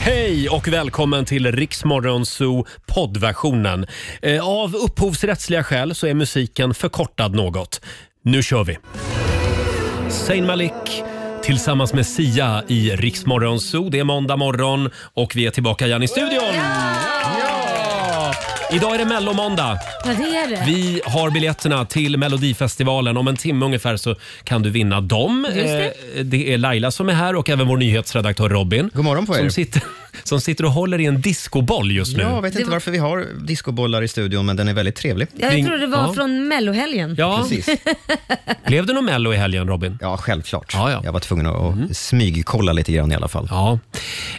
Hej och välkommen till Riksmorgonzoo poddversionen. Eh, Av upphovsrättsliga skäl så är musiken förkortad något. Nu kör vi! Zayn Malik tillsammans med Sia i Riksmorgonzoo. Det är måndag morgon och vi är tillbaka igen i studion. Ja! Idag är det mellomåndag. Ja, det är det. Vi har biljetterna till Melodifestivalen. Om en timme ungefär så kan du vinna dem. Just det. Eh, det är Laila som är här och även vår nyhetsredaktör Robin. God morgon på er. Som sitter, som sitter och håller i en discoboll just nu. Ja, jag vet Det inte var- varför vi har discobollar i studion, men den är väldigt trevlig. Ja, Ring- jag tror det var Ja. från mellohelgen. Ja, Precis. blev det någon Mello i helgen Robin? Ja, självklart. Ja, ja. Jag var tvungen att att smygkolla lite grann i alla fall. Ja.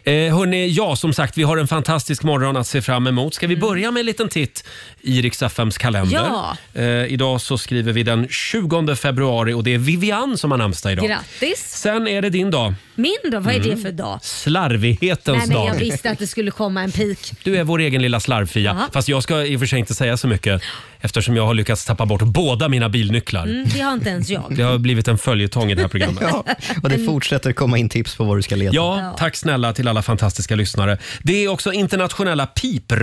Eh, hörni, ja som sagt vi har en fantastisk morgon att se fram emot. Ska vi börja med en liten titt i Rix FMs kalender? Mm. Ja. Eh, idag så skriver vi den 20 februari och det är Vivian som har namnsdag idag. Grattis! Sen är det din dag, Min då? Vad är det för dag? Nej, slarvighetens men jag Mm. dag. visste att det skulle komma en pik. Du är vår egen lilla slarvfia. Ja. Fast jag ska i och för sig inte säga så mycket eftersom jag har lyckats tappa bort båda mina bilnycklar. Mm, det har inte ens jag. Det har blivit en följetong i det här programmet. Ja, och det fortsätter komma in tips på vad du ska leta. Ja, tack snälla till alla fantastiska lyssnare. Det är också internationella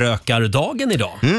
piprökardagen idag. Ah. Ja,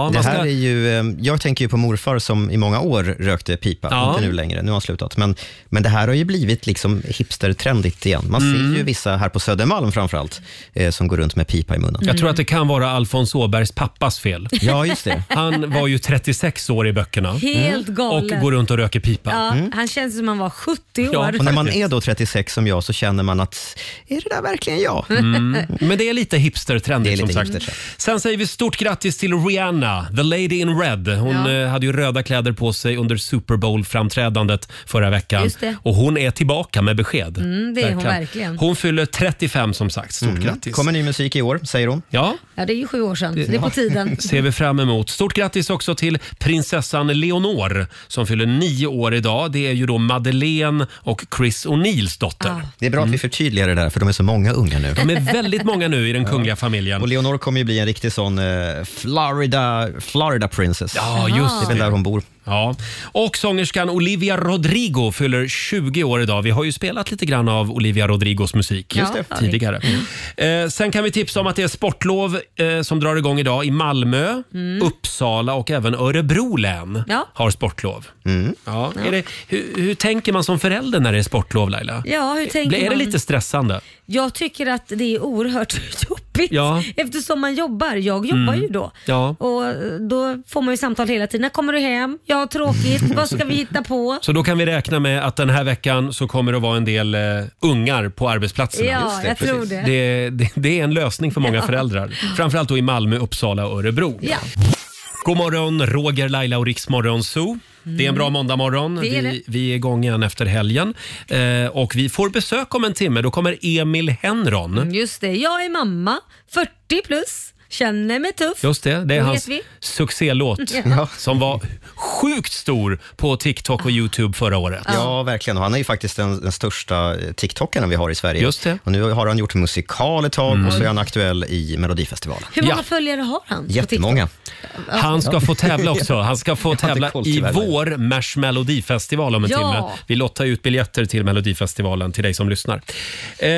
Mm. Det man här är ska, ju, eh, jag tänker ju på morfar som i många år rökte pipa, Ja. inte nu längre, nu har han slutat. Men, men det här har ju blivit liksom hipstertrendigt igen. Man Mm. ser ju vissa här på Södermalm framförallt, eh, som går runt med pipa i munnen. jag tror att det kan vara Alfons Åbergs pappas fel. Ja, just det. Han var ju 36 år i böckerna Helt Mm. och galet. går runt och röker pipa. ja, Han känns som han var 70 Ja. år. Och när man Faktiskt. är då 36 som jag så känner man att, är det där verkligen jag? Mm. Men det är lite Det hipstertrendigt är som lite sagt. hipstertrendigt. Sen säger vi stort grattis till Rihanna, the lady in red. Hon Ja. eh, hade ju röda kläder på sig under Super Bowl-framträdandet förra veckan. Just det. Och hon är tillbaka med besked. Mm, det är hon verkligen. Hon fyller 35 som sagt. Stort grattis. Mm. Kommer ny musik i år, säger hon. Ja, Ja, det är ju sju år sedan, så det är på tiden. ser vi fram emot. Stort grattis också till prinsessan Leonor som fyller nio år idag. Det är ju då Madeleine och Chris O'Neills dotter. Ah. Det är bra att vi förtydligar det där, för de är så många unga nu. De är väldigt många nu i den kungliga familjen. Och Leonor kommer ju bli en riktig sån eh, Florida, Florida princess. Ja, Det är just väl det. där hon bor. Ja. Och sångerskan Olivia Rodrigo fyller 20 år idag. Vi har ju spelat lite grann av Olivia Rodrigos musik Just det. Mm. tidigare. Eh, sen kan vi tipsa om att det är sportlov eh, som drar igång idag i Malmö, Uppsala och även Örebro län Mm. Ja. har sportlov. Ja. Är det, hur, hur tänker man som förälder när det är sportlov Laila? Ja, hur tänker Blir- är det man? lite stressande? Jag tycker att det är oerhört jobbigt Ja. Mm. eftersom man jobbar. Jag jobbar ju då. Ja. Och då får man ju samtal hela tiden. När kommer du hem? Jag har tråkigt. Vad ska vi hitta på? Så då kan vi räkna med att den här veckan så kommer det att vara en del eh, ungar på arbetsplatserna. Ja, det, jag tror precis. det. Det, det, det är en lösning för många föräldrar. Framförallt då i Malmö, Uppsala och Örebro. Ja. God morgon, Roger, Laila och Riksmorgon Zoo. Det är en bra måndagmorgon. Mm. Det är Vi, det. vi är igång igen efter helgen. Eh, och vi får besök om en timme. Då kommer Emil Henron. Just det, jag är mamma, 40 plus, känner mig tuff. Just det, det är vet hans vi. succélåt Ja. som var sjukt stor på TikTok och YouTube förra året. Ja, verkligen. Och han är ju faktiskt den, den största eh, TikTokaren vi har i Sverige. Just det. Och nu har han gjort musikal ett tag och så är han aktuell i Melodifestivalen. Hur många Ja. följare har han? på Jättemånga. Han ska få tävla också. Han ska få Jag hade tävla koll i tyvärr. vår Mers Melodifestival om en Ja. timme. Vi lottar ut biljetter till Melodifestivalen till dig som lyssnar. Eh,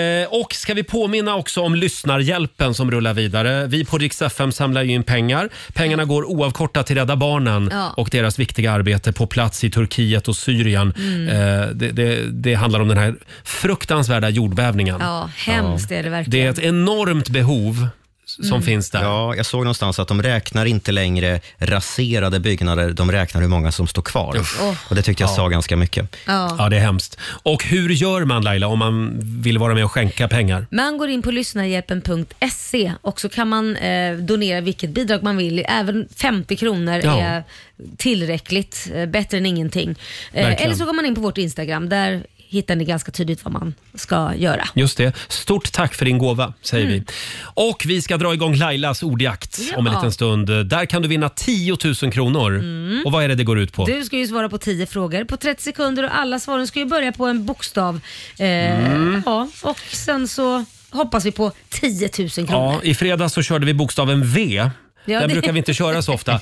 och ska vi påminna också om lyssnarhjälpen som rullar vidare. Vi på Rix FM samlar ju in pengar. Pengarna går oavkortat till Rädda Barnen Ja. och deras viktiga arbete på plats i Turkiet och Syrien. Mm. Eh, det, det, det handlar om den här fruktansvärda jordbävningen. Ja, hemskt är det Det är verkligen. ett enormt behov som Mm. finns där. Ja, jag såg någonstans att de räknar inte längre raserade byggnader, de räknar hur många som står kvar. Och det tyckte jag sa ganska mycket. Ja. Ja, det är hemskt. Och hur gör man Laila om man vill vara med och skänka pengar? Man går in på lyssnarhjälpen.se och så kan man eh, donera vilket bidrag man vill. Även 50 kronor Ja. är tillräckligt, eh, bättre än ingenting. Eh, Verkligen. eller så går man in på vårt Instagram, där hittar ni ganska tydligt vad man ska göra. Just det. Stort tack för din gåva, säger vi. Och vi ska dra igång Lailas ordjakt Mm. Ja. om en liten stund. Där kan du vinna 10 000 kronor. Mm. Och vad är det det går ut på? Du ska ju svara på 10 frågor på 30 sekunder och alla svaren ska ju börja på en bokstav. Eh, Mm. ja, och sen så hoppas vi på 10 000 kronor. Ja, I fredags så körde vi bokstaven V. Ja, Den det- brukar vi inte köra så ofta.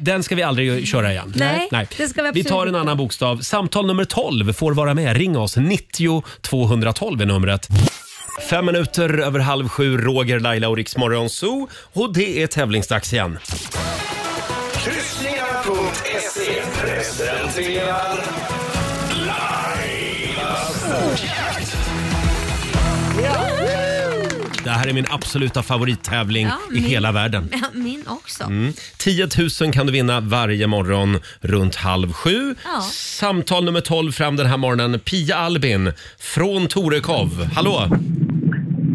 Den ska vi aldrig köra igen. Nej, det ska vi absolut tar en inte. annan bokstav. Samtal nummer 12 får vara med. Ring oss. 90 212 är numret. Fem minuter över halv sju, Roger, Laila och Riksmorgon Zoo. Och det är tävlingsdags igen. Kryssningar.se presenterar Lailas ordjakt. Det här är min absoluta favorittävling Ja, i min- hela världen. Mm. Ja, Min också. 10 000 kan du vinna varje morgon runt halv sju. Ja. Samtal nummer 12 fram den här morgonen. Pia Albin från Torekov. Hallå!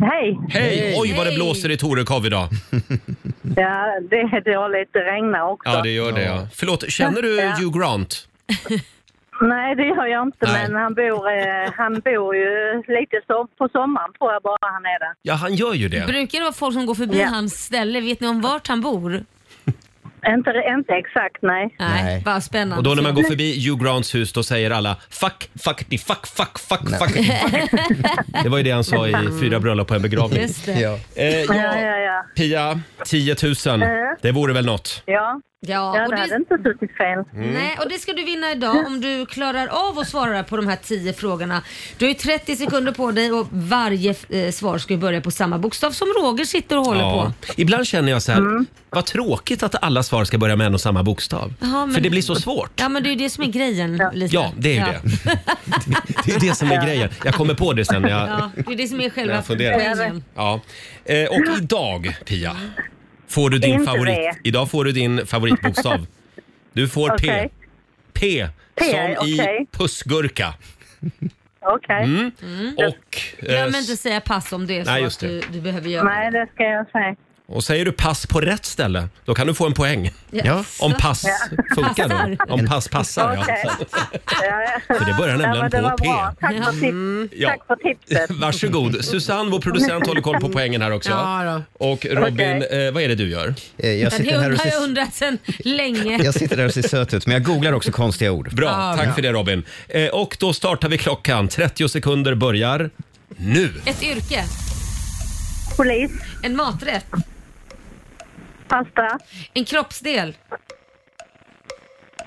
Hej! Hej! Hej. Oj, vad det Hej. blåser i Torekov idag. Ja, det är dåligt. Det regnar också. Ja, det gör det. Ja. Förlåt, känner du Ja. Hugh Grant? Nej, det gör jag inte, Nej. men han bor, eh, han bor ju lite så, på sommaren tror jag bara han är där. Ja, han gör ju det. Brukar det vara folk som går förbi Ja. hans ställe? Vet ni om vart han bor? Inte, inte exakt, nej. Nej, Nej. bara spännande. Och då när man går förbi Hugh Grants hus då säger alla fuck, fuck, di, fuck, fuck, fuck, fuck. di, fuck. Det var ju det han sa i Fyra bröllop på en begravning. Just det. Ja. Eh, Ja, ja, ja, ja. Pia, 10 000. Det vore väl något. Ja, ja Mm. och det hade det, inte suttit fel. Mm. nej, och det ska du vinna idag om du klarar av att svara på de här 10 frågorna. Du har ju 30 sekunder på dig och varje eh, svar ska ju börja på samma bokstav som Roger sitter och håller på. Mm. Ibland känner jag så här, vad tråkigt att alla svar ska börja med en och samma bokstav. Jaha, men- För det blir så svårt. Ja men det är ju det som är grejen lite. Ja, det är ju det. Det är det som är grejen. Jag kommer på det sen när jag... Ja, det är det som är När själva jag funderar. grejen. Ja. Eh, Och idag, Pia, får du din Inte favorit... det. Idag får du din favoritbokstav. Du får Okej. P. P, P, som i okej. pussgurka. Okej. Mm. Mm. Och, eh, Glöm inte att säga pass om det är så Nej, just att du, du behöver göra Nej, det ska jag säga. och säger du pass på rätt ställe, då kan du få en poäng. Ja. Om pass funkar då. Passar. Om pass passar, ja. Okej. Ja, ja. För det börjar nämligen ja, men det på var P. bra. Tack för, tips. Mm. ja. Tack för tipset. Varsågod. Susanne, vår producent, håller koll på poängen här också. Ja, Och Robin, eh, vad är det du gör? Eh, Jag Det sitter, här och undrar ser, jag undrat sedan länge. jag sitter där och ser söt ut, men jag googlar också konstiga ord. Bra, Ja, tack bra. för det Robin. Eh, och då startar vi klockan. 30 sekunder börjar nu. Ett yrke, Polis, en maträtt, pasta, en kroppsdel,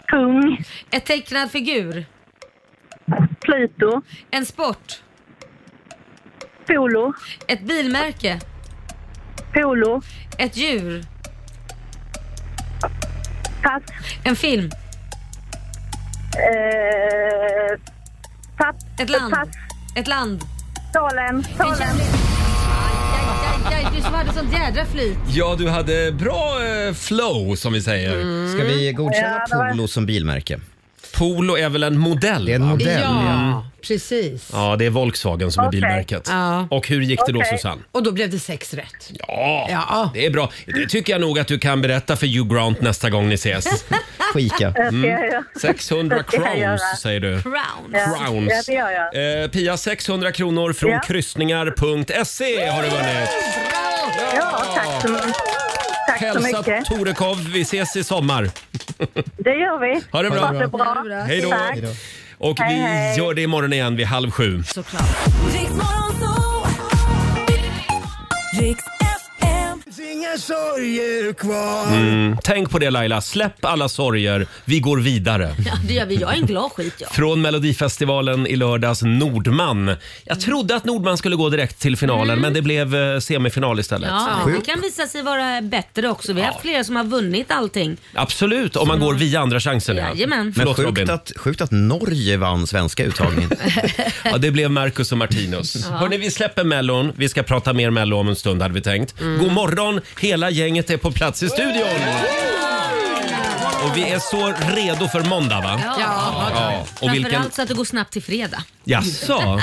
kung, ett tecknad figur, Pluto, en sport, polo, ett bilmärke, polo, ett djur, pass, en film, eh, pass, ett land. pass, Ett land. Polen, Polen. Aj, aj, du som hade sånt jädra flyt. Ja, du hade bra eh, flow som vi säger. Ska vi godkänna Mm. Ja, det var- Polo som bilmärke? Polo är väl en modell? Det är en va? modell. ja, precis. Ja, det är Volkswagen som Okej. är bilmärket. Ja. Och hur gick det då Okej. Susanne? Och då blev det sex rätt. Ja, Ja. det är bra. Det tycker jag nog att du kan berätta för Hugh Grant nästa gång ni ses. Fika. Mm. Ja, ja. 600 Det ska jag göra. crowns säger du. Brown. Ja. Crowns. Ja, det gör jag. Eh, Pia, 600 kronor från Ja. kryssningar.se har du vunnit. Ja, tack så, tack så Hälsa mycket. Torekov, vi ses i sommar. Det gör vi. Ha det bra. Ha det bra. Hej då. Tack. Och Hej, vi hej. gör det imorgon igen vid halv sju. Såklart. Inga sorger kvar Tänk på det Laila, släpp alla sorger. Vi går vidare. Ja, det gör vi. Jag är en glad skit jag. Från Melodifestivalen i lördags, Nordman. Jag trodde att Nordman skulle gå direkt till finalen, Mm. men det blev eh, semifinal istället. Ja, men det kan visa sig vara bättre också. Vi har haft flera som har vunnit allting. Absolut, om man går via andra chansen. ja. Jajamän. Förlåt Sjukt Robin. att, sjukt att Norge vann svenska uttagningen. Ja, det blev Marcus och Martinus. Hörni, vi släpper Mellon. Vi ska prata mer Mello om en stund hade vi tänkt. Mm. God morgon, hela gänget är på plats i studion. Och vi är så redo för måndag va? Ja. Ja, och Framförallt vilken... så att det går snabbt till fredag. Jaså?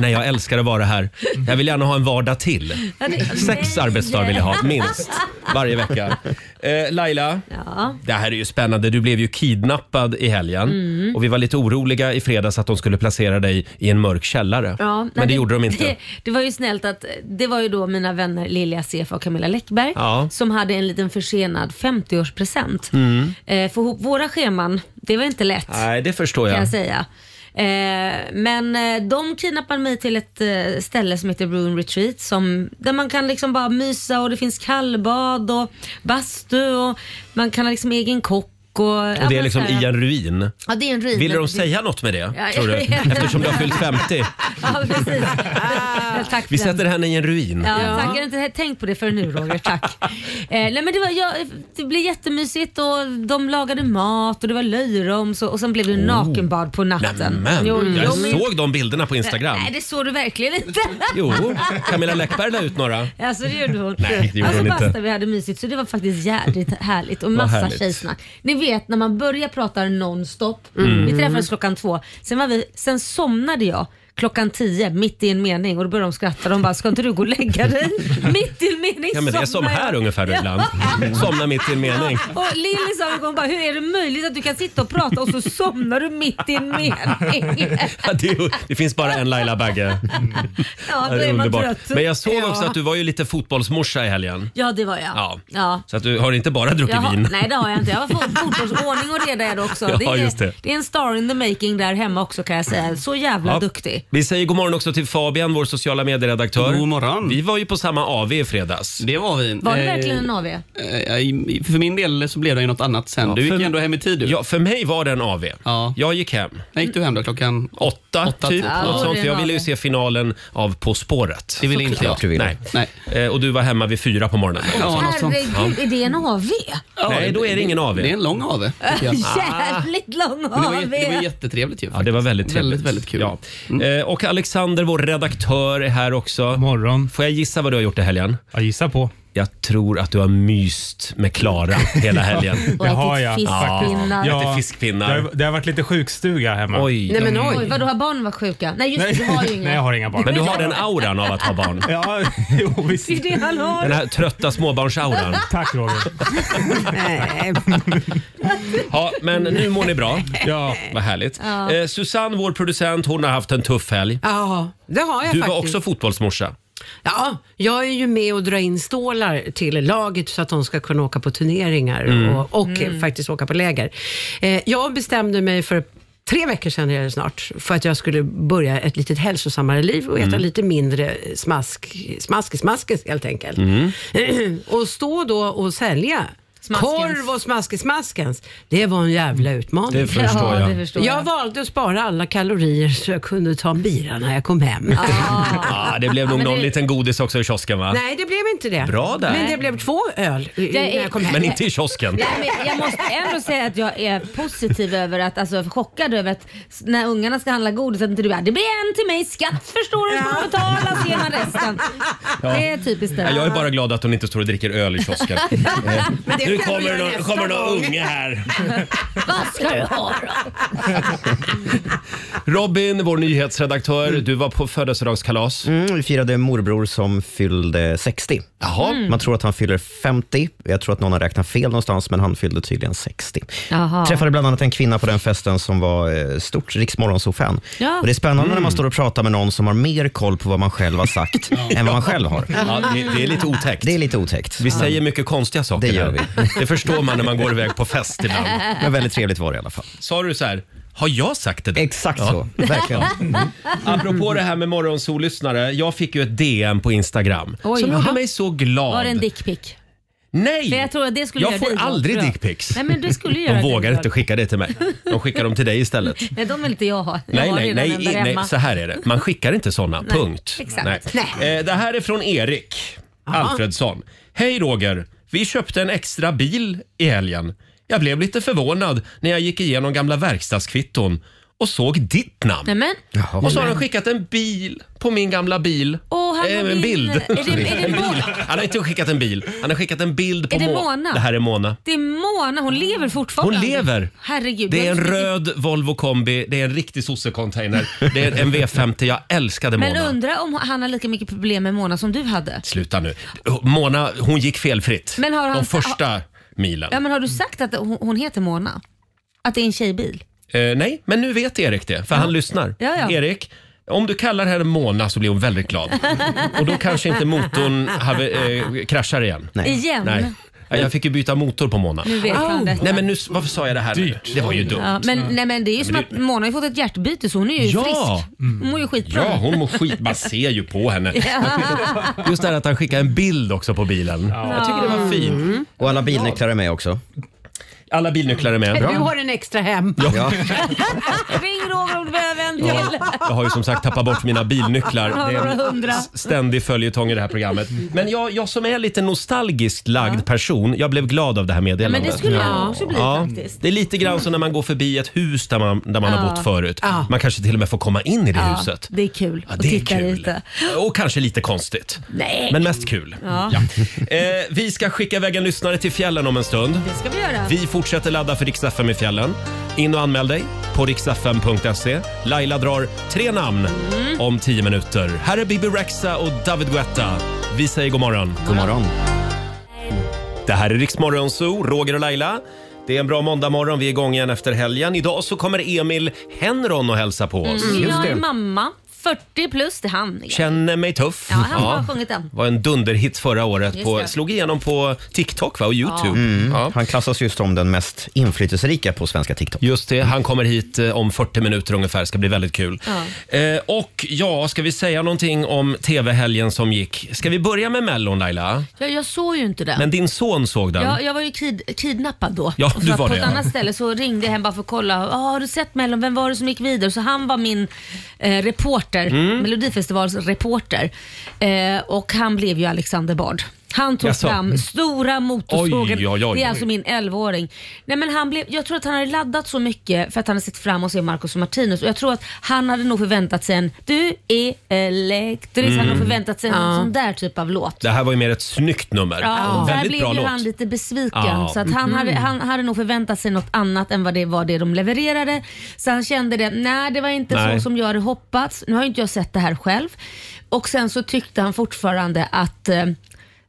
Nej, jag älskar att vara här. Jag vill gärna ha en vardag till. Ja, det- Sex arbetsdagar vill jag ha, minst. Varje vecka. Eh, Laila, Ja. det här är ju spännande. Du blev ju kidnappad i helgen. Mm. Och vi var lite oroliga i fredags att de skulle placera dig i en mörk källare. Ja, Men nej, det gjorde de inte. Det, det var ju snällt att det var ju då mina vänner Lilja Sefa och Camilla Läckberg Ja. som hade en liten försenad 50-årspresent. Eh, för ho- våra scheman, det var inte lätt Mm. Nej, det förstår kan jag. jag säga. Eh, men eh, de kidnappade mig till ett eh, ställe som heter Bruin Retreat som, där man kan liksom bara mysa och det finns kallbad och bastu och man kan ha liksom egen kock. Och, Och det är liksom i en ruin. Ja, det är eh, en ruin. Ville men de det- säga något med det, Ja, tror du? jag vet inte. Eftersom du har fyllt 50. Ja, precis. Ja, tack för Vi den. sätter henne i en ruin. Ja, Tack, jag har inte tänkt på det förrän nu Roger. Tack. eh, nej, men det, var, ja, det blev jättemysigt och de lagade mat och det var löjroms och, och sen blev det nakenbad på natten. Oh. Nämen, Jo, jag jo, men- såg de bilderna på Instagram. Nej, det såg du verkligen inte. Jo, Camilla Läckberg la ut några. Alltså det gjorde hon. Nej, det gjorde alltså hon inte. basta vi hade mysigt så det var faktiskt jädrigt härligt och Vad massa härligt. tjejsnack. Ni vet när man börjar prata nonstop. Mm. Vi träffades klockan två, sen, var vi, sen somnade jag klockan tio mitt i en mening och då började de skratta. De bara, ska inte du gå och lägga dig? mitt i en mening Ja, men det är som somnar jag. här ungefär Ja. ibland. Somna mitt i en mening. Och Lilly sa en gång bara, hur är det möjligt att du kan sitta och prata och så somnar du mitt i en mening? Ja, Det, är ju- det finns bara en Laila Bagge. Ja, Ja, då det är är man underbart. trött. Men jag såg Ja. också att du var ju lite fotbollsmorsa i helgen. Ja, det var jag. Ja. ja. Så att du har inte bara druckit Jaha, vin. Nej det har jag inte. Jag var fot- fotbollsordning och reda är det också. Ja, det, är, just det. det. är en star in the making där hemma också kan jag säga. Så jävla Ja. duktig. Vi säger god morgon också till Fabian, vår sociala medieredaktör. God morgon. Vi var ju på samma AV i fredags. Det var vi. Var det Eh, verkligen en AW? eh, i- För min del så blev det ju något annat sen. Ja, du gick för- ju ändå hem i tid. Du. Ja, för mig var det en AV. Jag gick hem. När gick du hem då? Klockan åtta, typ. Ja, något det sånt. För jag var ville ju det. se finalen av På spåret. Det ville inte Såklart jag. du ville. Nej. Eh, Och du var hemma vid fyra på morgonen. Alltså, Herregud, är det en AW? Ja. Nej, då är det ingen AV. Det är en lång AV. tycker jag. Jävligt lång Men det var, AW. jä- det var jättetrevligt ju. Ja, det var väldigt trevligt. Väldigt, väldigt kul. Mm. Ja. Eh, och Alexander, vår redaktör, är här också. Morgon. Får jag gissa vad du har gjort i helgen? Ja, gissa på. Jag tror att du har myst med Klara hela helgen. Och ätit fiskpinnar. Ja, ätit Det fiskpinnar. har, det har varit lite sjukstuga hemma. Oj. Nej men oj. Vadå har barnen varit sjuka? Nej just det, du har ju inga. Nej, jag har inga barn. Men du har den auran av att ha barn. Ja, jo, visst. Det är det han har. Den här trötta småbarnsauran. Tack Roger. Ja, men nu mår ni bra. Ja. Vad härligt. Ja. Eh, Susanne, vår producent, hon har haft en tuff helg. Ja, det har jag Du var faktiskt. också fotbollsmorsa. Ja, jag är ju med och drar in stålar till laget så att de ska kunna åka på turneringar Mm. och, och Mm. faktiskt åka på läger. Eh, jag bestämde mig för tre veckor sedan är det snart, för att jag skulle börja ett litet hälsosammare liv och äta Mm. lite mindre smask, smaskis, smaskis helt enkelt. och stå då och sälja Korv och smaskis-smaskens, det var en jävla utmaning. Det förstår Ja, jag. det förstår jag jag. valde att spara alla kalorier så jag kunde ta en bira när jag kom hem. Alltså, Ah, det blev nog men någon det- liten godis också i kiosken va? Nej, det blev inte det. Bra där. Men det blev två öl i- Det är- när jag kom hem. Men inte i kiosken. Nej, men jag måste ändå säga att jag är positiv över att, alltså chockad över att s- när ungarna ska handla godis att inte du bara, det blir en till mig, skatt förstår du, ska betala, så ger man resten. Ja. Det är typiskt det. Ja, jag är bara glad att hon inte står och dricker öl i kiosken. Eh, Men det nu kan kommer vi göra någon, nästa kommer någon gång. unge här. Vad ska du ha då? Robin, vår nyhetsredaktör, Mm. du var på födelsedagskalas. Mm, vi firade morbror som fyllde 60. Jaha. Mm. Man tror att han fyller 50. Jag tror att någon har räknat fel någonstans, men han fyllde tydligen 60. Jaha. Träffade bland annat en kvinna på den festen som var eh, stort Rix fan Ja. Och Det är spännande Mm. när man står och pratar med någon som har mer koll på vad man själv har sagt än vad man själv har. Ja, det, det är lite otäckt. Det är lite otäckt. Vi säger mycket konstiga saker. Det gör här. Det förstår man när man går iväg på fest ibland. Men väldigt trevligt var det i alla fall. Sa du så här, har jag sagt det? Exakt så, verkligen. Apropå det här med morgonsollyssnare, jag fick ju ett DM på Instagram Oj. som Jaha. gjorde mig så glad. Var det en dickpic? Nej! För jag tror att det skulle Jag göra får dig glad, aldrig tror jag. dickpics. Nej men det skulle göra De dig vågar glad. inte skicka det till mig. De skickar dem till dig istället. Nej de vill inte jag ha. Jag Nej, har nej, redan nej, en där nej, hemma. så här är det. Man skickar inte såna. Nej, punkt. exakt. Eh, det här är från Erik Alfredsson. Hej Roger! Vi köpte en extra bil i helgen. Jag blev lite förvånad när jag gick igenom gamla verkstadskvitton och såg ditt namn. Nej, men. Och så har de skickat en bil på min gamla bil. Åh, han Eh, har en min- bild. är det- är det en Mona? bil. Han har inte skickat en bil. Han har skickat en bild på Är det Mo- Mona? Det här är Mona. Det är Mona, hon lever fortfarande. Hon lever. Herregud. Det är en jag- röd Volvo kombi, det är en riktig sossecontainer, det är en V50. Jag älskade Men Mona. undra om han har lika mycket problem med Mona som du hade? Sluta nu. Mona, hon gick felfritt. Men har De han- första milen. Ja, men har du sagt att hon, hon heter Mona? Att det är en tjejbil? Eh, nej, men nu vet Erik det, för han lyssnar. Ja, ja. Erik, om du kallar henne Mona så blir hon väldigt glad. Och då kanske inte motorn have, eh, kraschar igen. Nej. Igen? Nej. Ja, Jag fick ju byta motor på Mona. Nu vet han detta. Nej men nu, varför sa jag det här nu? Det var ju dumt. Ja, men, nej, men det Mm. är ju som men att Mona har ju fått ett hjärtbyte så hon är ju Ja. frisk. Hon mår ju skitbra. Ja, hon mår skit. Man ser ju på henne. Ja. Just det här att Mm. han skickade en bild också på bilen. Jag tycker det var fint. Och alla bilnycklar är med också. Alla bilnycklar är med. Du har en extra hem. Ja. Ring Roger om du behöver en till. Jag har ju som sagt tappat bort mina bilnycklar. Han har Det är några en hundra. s- ständig följetong i det här programmet. Men jag, jag som är lite nostalgiskt lagd person, jag blev glad av det här meddelandet. Ja, men det skulle jag också bli faktiskt. Det är lite grann som när man går förbi ett hus där man, där man har Ja. bott förut. Ja. Man kanske till och med får komma in i det Ja, huset. det är kul Ja, att det är titta kul. lite. Och kanske lite konstigt. Nej. Men mest kul. Ja. Eh, vi ska skicka iväg en lyssnare till fjällen om en stund. Det ska vi göra. Vi fortsätter ladda för Rix FM i fjällen. In och anmäl dig på rixfm.se. Laila drar tre namn Mm. om tio minuter. Här är Bibi Rexa och David Guetta. Vi säger god morgon. God morgon. Det här är Rix Morgon Zoo, Roger och Laila. Det är en bra måndagmorgon. Vi är igång igen efter helgen. Idag så kommer Emil Henron och hälsa på oss. Mm, jag är mamma, 40 plus, det är han. Känner mig tuff. Ja, han har sjungit den. Var en dunderhit förra året. Just På, det. slog igenom på TikTok va? och YouTube. Mm. Han klassas just som den mest inflytelserika på svenska TikTok. Just det, han kommer hit eh, om 40 minuter ungefär. Ska bli väldigt kul. Eh, och ja, ska vi säga någonting om tv-helgen som gick? Ska vi börja med Mellon Laila? Jag, jag såg ju inte den. Men din son såg den. Jag, jag var ju kid, kidnappad då. Ja, Och så du var på det. ett annat ställe så ringde jag hem bara för att kolla. Ah, har du sett Mellon? Vem var det som gick vidare? Så han var min eh, reporter, Mm. Melodifestivalsreporter. Eh, och han blev ju Alexander Bard. Han tog Jaså? fram stora motorsågen. Oj, oj, oj. Det är alltså min 11-åring. Nej, men han blev, jag tror att han hade laddat så mycket för att han hade sett fram och se Marcus och Martinus. Och jag tror att han hade nog förväntat sig en Du är elektrisk. Han Mm. hade nog förväntat sig en sån där typ av låt. Det här var ju mer ett snyggt nummer. Ja, där Väldigt blev bra ju låt. han lite besviken. Ja. Så att han, Mm. hade, han hade nog förväntat sig något annat än vad det var det de levererade. Så han kände det, nej det var inte Nej. så som jag hade hoppats. Nu har ju inte jag sett det här själv. Och sen så tyckte han fortfarande att eh,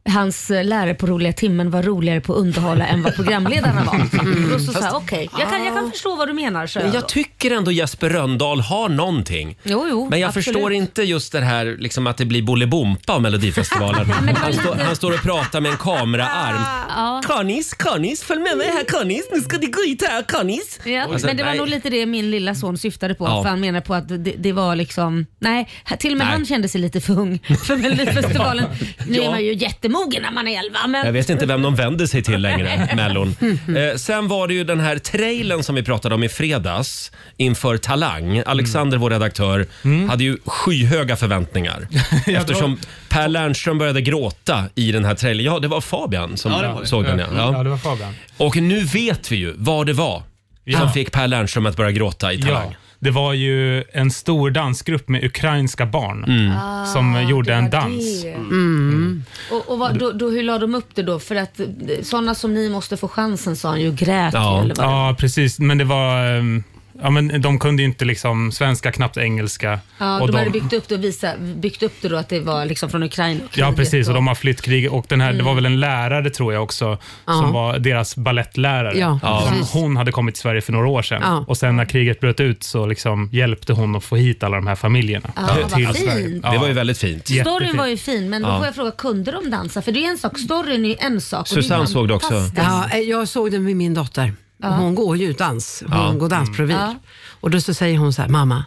Hans eh, lärare på roliga timmen var roligare på att underhålla än vad programledarna var. Och Då så sa jag, okej, jag, kan, jag kan förstå vad du menar, så Mm. Men jag jag då. tycker ändå Jesper Röndahl har någonting. Jo, jo, Men jag absolut. förstår inte just det här liksom att det blir Bolibompa av Melodifestivalen. Men det var han, står- lite- han står och pratar med en kameraarm. Ja. Kanis, Kanis, följ med mig här Kanis. Nu ska det gå hit här Kanis. Ja, Alltså, men det var nej. nog lite det min lilla son syftade på. Ja. För han menar på att det, det var liksom, nej, till och med Nej. han kände sig lite för ung för Melodifestivalen. Nu Ja. är man ju jättemogen när man är 11 Jag men vet inte vem de vänder sig till längre, Mellon. Mm. Eh, sen var det ju den här trailern som vi pratade om i fredags inför Talang. Alexander, vår redaktör, hade ju skyhöga förväntningar. eftersom Per Lernström började gråta i den här trailern. Ja, det var Fabian som Ja, det var det. såg den. Ja. Ja, Ja. det var Fabian. Och nu vet vi ju vad det var som Ja. fick Per Lernström att börja gråta i Talang. Ja. Det var ju en stor dansgrupp med ukrainska barn Ah, som gjorde en dans. Mm. Och, och vad, då, då, hur la de upp det då? För att eh, sådana som ni måste få chansen sa han ju grät Ja. ju, eller vad? Ja, precis. Men det var... ehm, Ja, men de kunde ju inte liksom svenska, knappt engelska. Ja, Och de, de- hade byggt upp det och visa, byggt upp det då att det var liksom från Ukraina. och Ja, kriget precis. Och och- de har flytt krig. Och den här, det var väl en lärare, tror jag också, Ja. som var deras ballettlärare. Ja, Ja. Som precis. Hon hade kommit till Sverige för några år sedan. Ja. Och sen när kriget bröt ut så liksom hjälpte hon att få hit alla de här familjerna. Ja, vad till fint. Sverige. Det var ju väldigt fint. Storyn Jättefint. var ju fin, men då får jag fråga, kunde de dansa? För det är ju en sak, storyn är ju en sak. och det är Susanne såg det också. fantastiskt. Ja, eh, jag såg den med min dotter. Och Hon går ju dans. Hon går dansprovir. Ja. Och då så säger hon så här, mamma,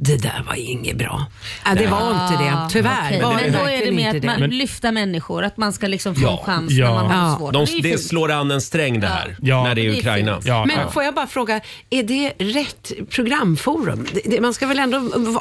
det där var inget bra. Äh, det var inte det, tyvärr. Ah, Okej, Var Men då är det verkligen mer inte att man Men- lyfta människor, att man ska liksom få Ja, en chans ja. när man har Ja. det svårt. De, det är ju det fint. slår an en sträng det här, Ja. när det Det är är Ukraina. fint. Ja, Men ja. får jag bara fråga, är det rätt programforum? Det, det, man ska väl ändå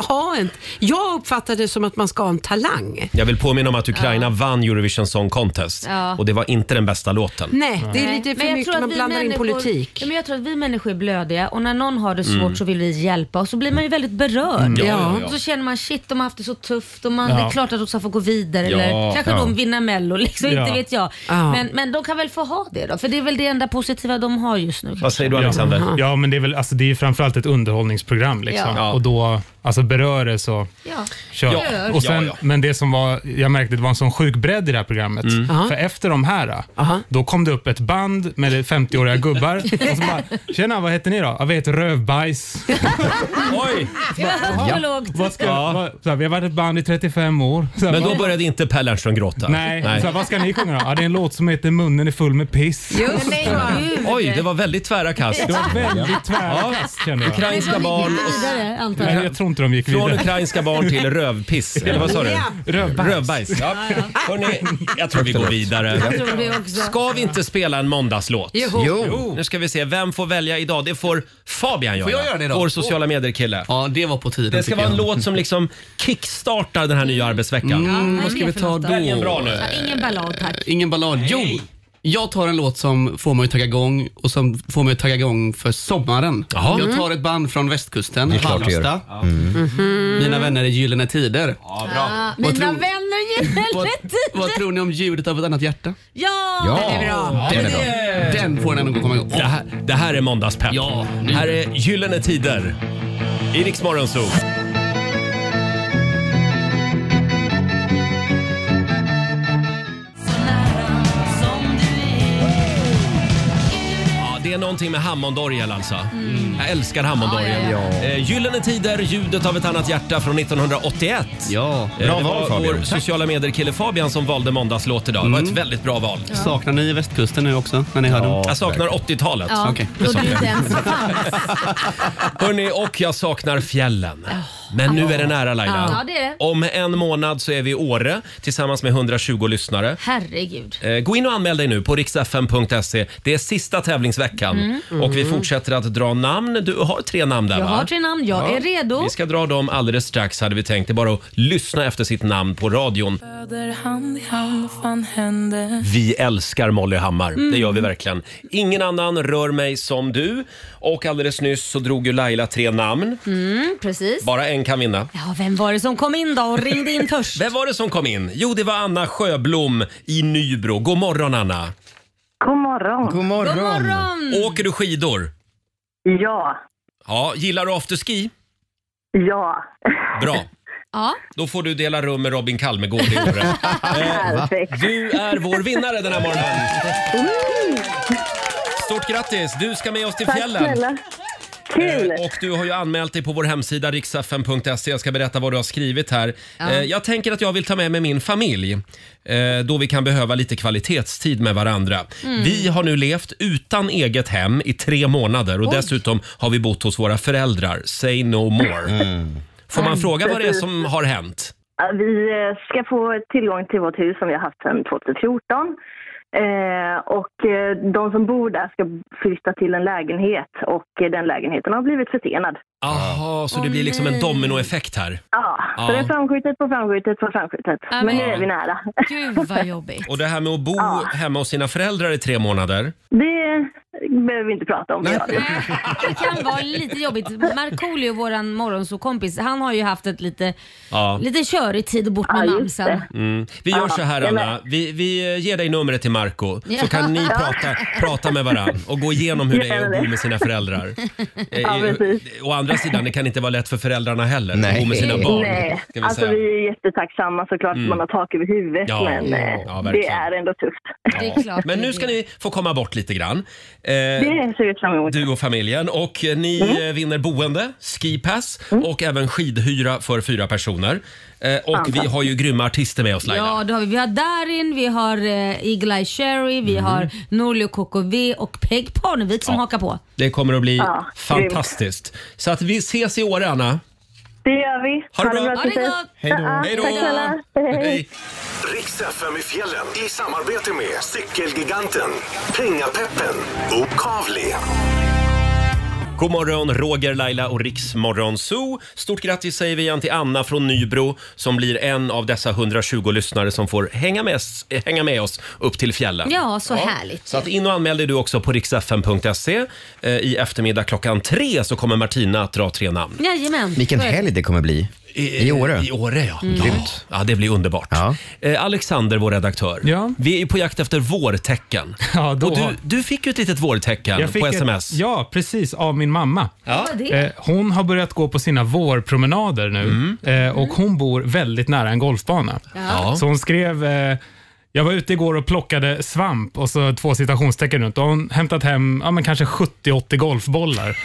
ha en... Jag uppfattar det som att man ska ha en talang. Jag vill påminna om att Ukraina vann Eurovision Song Contest Ja. och det var inte den bästa låten. Nej, det är Nej, lite men för jag tror mycket att man vi blandar in människor- politik. Ja, men jag tror att vi människor är blödiga och när någon har det svårt så vill vi hjälpa och så blir man ju väldigt berörd. Ja, ja, ja. Och så känner man shit, de har haft det så tufft och man, Ja. det är klart att de ska få gå vidare Ja, eller kanske ja. de vinner mello, liksom, Ja. inte vet jag. Ja. Men, men de kan väl få ha det då, för det är väl det enda positiva de har just nu. Vad säger du Alexander? Ja, men det är väl alltså, det är ju framförallt ett underhållningsprogram. Liksom. Ja. Och då, alltså berör det så Ja. kör. Ja. Och sen, Ja, ja. Men det som var, jag märkte det var en sån sjuk bredd i det här programmet. För efter de här, Aha. då kom det upp ett band med 50-åriga gubbar. Och så bara, Tjena, vad heter ni då? Ja, vi heter Rövbajs. Oj! Ja. Vad ska, vad, så här, vi har varit ett band i 35 år. Så här, Men då vad, började inte Per Lernström gråta? nej, Så här, vad ska ni sjunga då? Ja, det är en låt som heter Munnen är full med piss. Just det. Oj, det var väldigt tvära kast. Det var väldigt tvärkast kände jag. Ukrainska barn och Vidare, antar Nej, jag. jag tror inte de gick Från vidare. ukrainska barn till rövpiss, eller vad sa du? Ja. Rövbajs. Rövbajs. Ja. Hörrni, jag tror vi går vidare. Jag tror det också. Ska vi inte spela en måndagslåt? Jo. Jo. Nu ska vi se, vem får välja idag? Det får Fabian göra. Får jag göra det idag? Vår sociala medier-kille. Ja, det var på tiden Det ska tycker vara en jag. låt som liksom kickstartar den här nya arbetsveckan. Mm, vad är vad ska det vi för ta låt? då? Det här är en bra nu. Ja, ingen ballad tack. Ingen ballad. Jo, jag tar en låt som får mig att tagga igång och som får mig att tagga igång för sommaren. Jaha. Mm. Jag tar ett band från västkusten, är klart du gör. Halmstad. Mhm. Mina vänner i Gyllene Tider. Ah, Vad mina tror- vänner gillar Vad, rätt vad tror ni om ljudet av ett annat hjärta? Ja! Ja, den är bra. Den är bra. Den får en att komma igång. Det, här, det här är Måndagspepp. Ja, nu. här är Gyllene Tider i Rix Morgon Zoo. Ja, Det är någonting med Hammondorgel alltså. Jag älskar Hammondorgel. Mm. Ja, ja, ja. Eh, Gyllene Tider, ljudet av ett annat hjärta från 1981. Ja. Eh, Bra val, det var Fabian. Mm. vår Tack. sociala medier-kille Fabian som valde måndagslåt idag. Det var ett väldigt bra val. Saknar ni västkusten nu också när ni hör den? Jag saknar 80-talet. Ja, Okej, då det inte ens fanns. Hörni, och jag saknar fjällen. Men nu är det nära Laila. Ja, det är det. Om en månad så är vi i Åre tillsammans med 120 lyssnare. Herregud. Eh, Gå in och anmäl dig nu på riksfn.se. Det är sista tävlingsveckan och vi fortsätter att dra namn. Du har tre namn där Mm. Jag va? har tre namn, jag är redo. Vi ska dra dem alldeles strax hade vi tänkt. Det är bara att lyssna efter sitt namn på radion. Vi älskar Molly Hammar, det gör vi Mm. verkligen. Ingen annan rör mig som du. Och alldeles nyss så drog ju Laila tre namn. Mm, precis. Bara en kan vinna. Ja, vem var det som kom in då och ringde in först? Vem var det som kom in? Jo, det var Anna Sjöblom i Nybro. God morgon Anna! God morgon. God morgon. God Mm. morgon! Åker du skidor? Ja. Ja, gillar du afterski? Ja. Bra. Ja, Då får du dela rum med Robin Kalmegård i år. Perfekt. Du är vår vinnare den här morgonen. Stort grattis! Du ska med oss till Tack fjällen. snälla. Kul. Eh, Och du har ju anmält dig på vår hemsida riksfn.se. Jag ska berätta vad du har skrivit här. Eh, Jag tänker att jag vill ta med mig min familj eh, då vi kan behöva lite kvalitetstid med varandra. Mm. Vi har nu levt utan eget hem i tre månader och dessutom har vi bott hos våra föräldrar. Say no more. Får man fråga vad det är som har hänt? Ja, Vi eh, ska få tillgång till vårt hus som vi har haft sedan 2014. Eh, och eh, de som bor där ska flytta till en lägenhet och eh, den lägenheten har blivit försenad. Jaha, så det Åh, blir liksom en nej. dominoeffekt här. Ja, så Ja. det är framskjutet på framskjutet på framskjutet. Ja, men- men nu är vi nära. gud vad jobbigt. Och det här med att bo Ja. hemma hos sina föräldrar i tre månader. Det behöver vi inte prata om. Ja, det- Det kan vara lite jobbigt. Markoolio, våran morgonsåkompis, han har ju haft ett lite, Ja. lite körig tid bort med Ja, just mamsen. det. Mm. Vi gör Ja, så här jag Anna, med. vi, vi eh, ger dig numret till Marco så Ja. kan ni prata, prata med varandra och gå igenom hur det är Gärna att bo det. med sina föräldrar. Eh, Ja, i- precis. Å andra sidan, det kan inte vara lätt för föräldrarna heller att Nej. bo med sina barn. Nej, Ska vi alltså säga. Mm. vi är jättetacksamma såklart att man har tak över huvudet Ja. men eh, Ja, det verkligen. är ändå tufft. Det är klart Men det nu är ska det. ni få komma bort lite grann. Eh, Det ser vi fram emot. Du och familjen. Och eh, ni Mm. eh, vinner boende, skipass och även skidhyra för fyra personer. Eh, och vi har ju grymma artister med oss Laila. Ja, det har vi. Vi har Darin, vi har eh, Eagle-Eye Cherry, Mm. vi har Norli KKV och Peg Parnevik som hakar på. Det kommer att bli Ja, fantastiskt. Så att vi ses i år Anna. Det gör vi. Ha det bra. Ha det gott! Hej då. Ja, Hej då. tack snälla. Hej. Riks FM i fjällen i samarbete med Cykelgiganten, Pengapeppen och Kavli. God morgon, Roger, Laila och Riksmorgon Zoo. Stort grattis säger vi igen till Anna från Nybro som blir en av dessa 120 lyssnare som får hänga med, s- eh, hänga med oss upp till fjällen. Ja, så härligt. Så att in och anmäl dig du också på riksfn.se. Eh, I eftermiddag klockan tre så kommer Martina att dra tre namn. Jajamän. Vilken Så är det. helg det kommer bli. I Åre. Mm. I Åre, ja. Grymt. Ja, det blir underbart. Ja. Eh, Alexander, vår redaktör. Ja. Vi är på jakt efter vårtecken. Ja, då och du, har- du fick ju ett litet vårtecken Jag fick på ett- sms. Ja, precis. Av min mamma. Ja, det är Eh, hon har börjat gå på sina vårpromenader nu eh, och hon bor väldigt nära en golfbana. Mm. Ja. Så hon skrev eh, Jag var ute igår och plockade svamp och så två citationstecken runt. Och hon hämtat hem ja, men kanske 70-80 golfbollar.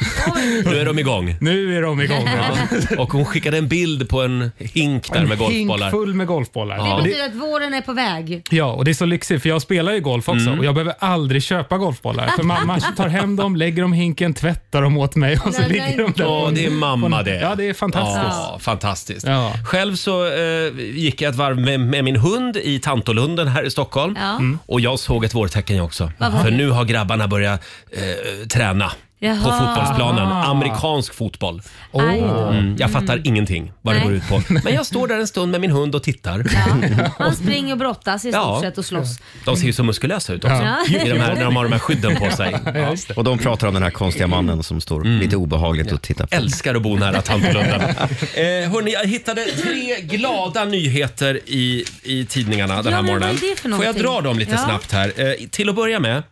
Nu är de igång. Nu är de igång. Ja. Och hon skickade en bild på en hink där En med golfbollar. hink full med golfbollar. Ja. Och Det det, betyder att våren är på väg. ja, och det är så lyxigt för jag spelar ju golf också Mm. och jag behöver aldrig köpa golfbollar. För mamma tar hem dem, lägger dem i hinken, tvättar dem åt mig och så Nej, ligger nej. de där. Ja, det är mamma det. Ja, det är fantastiskt. Ja, fantastiskt. Ja. Själv så eh, gick jag ett varv med, med min hund i Tantolunden här i Stockholm. Mm. Ja. Och jag såg ett vårtecken jag också. Vad var För det? nu har grabbarna börjat eh, träna på Jaha. fotbollsplanen. Ah. Amerikansk fotboll. Aj då. Mm, jag fattar ingenting vad det Nej. går ut på. Men jag står där en stund med min hund och tittar. Ja. Man springer och brottas i stort Ja. sett och slåss. De ser ju så muskulösa ut också. Ja. I de här, när de har de här skydden på sig. Ja. Och de pratar om den här konstiga mannen som står Mm. lite obehagligt och tittar på. Älskar att bo nära Tantolunden. eh, hörni, jag hittade tre glada nyheter i, i tidningarna den Ja, här men morgonen. vad är det för Får jag någonting? dra dem lite Ja. snabbt här? Eh, till att börja med,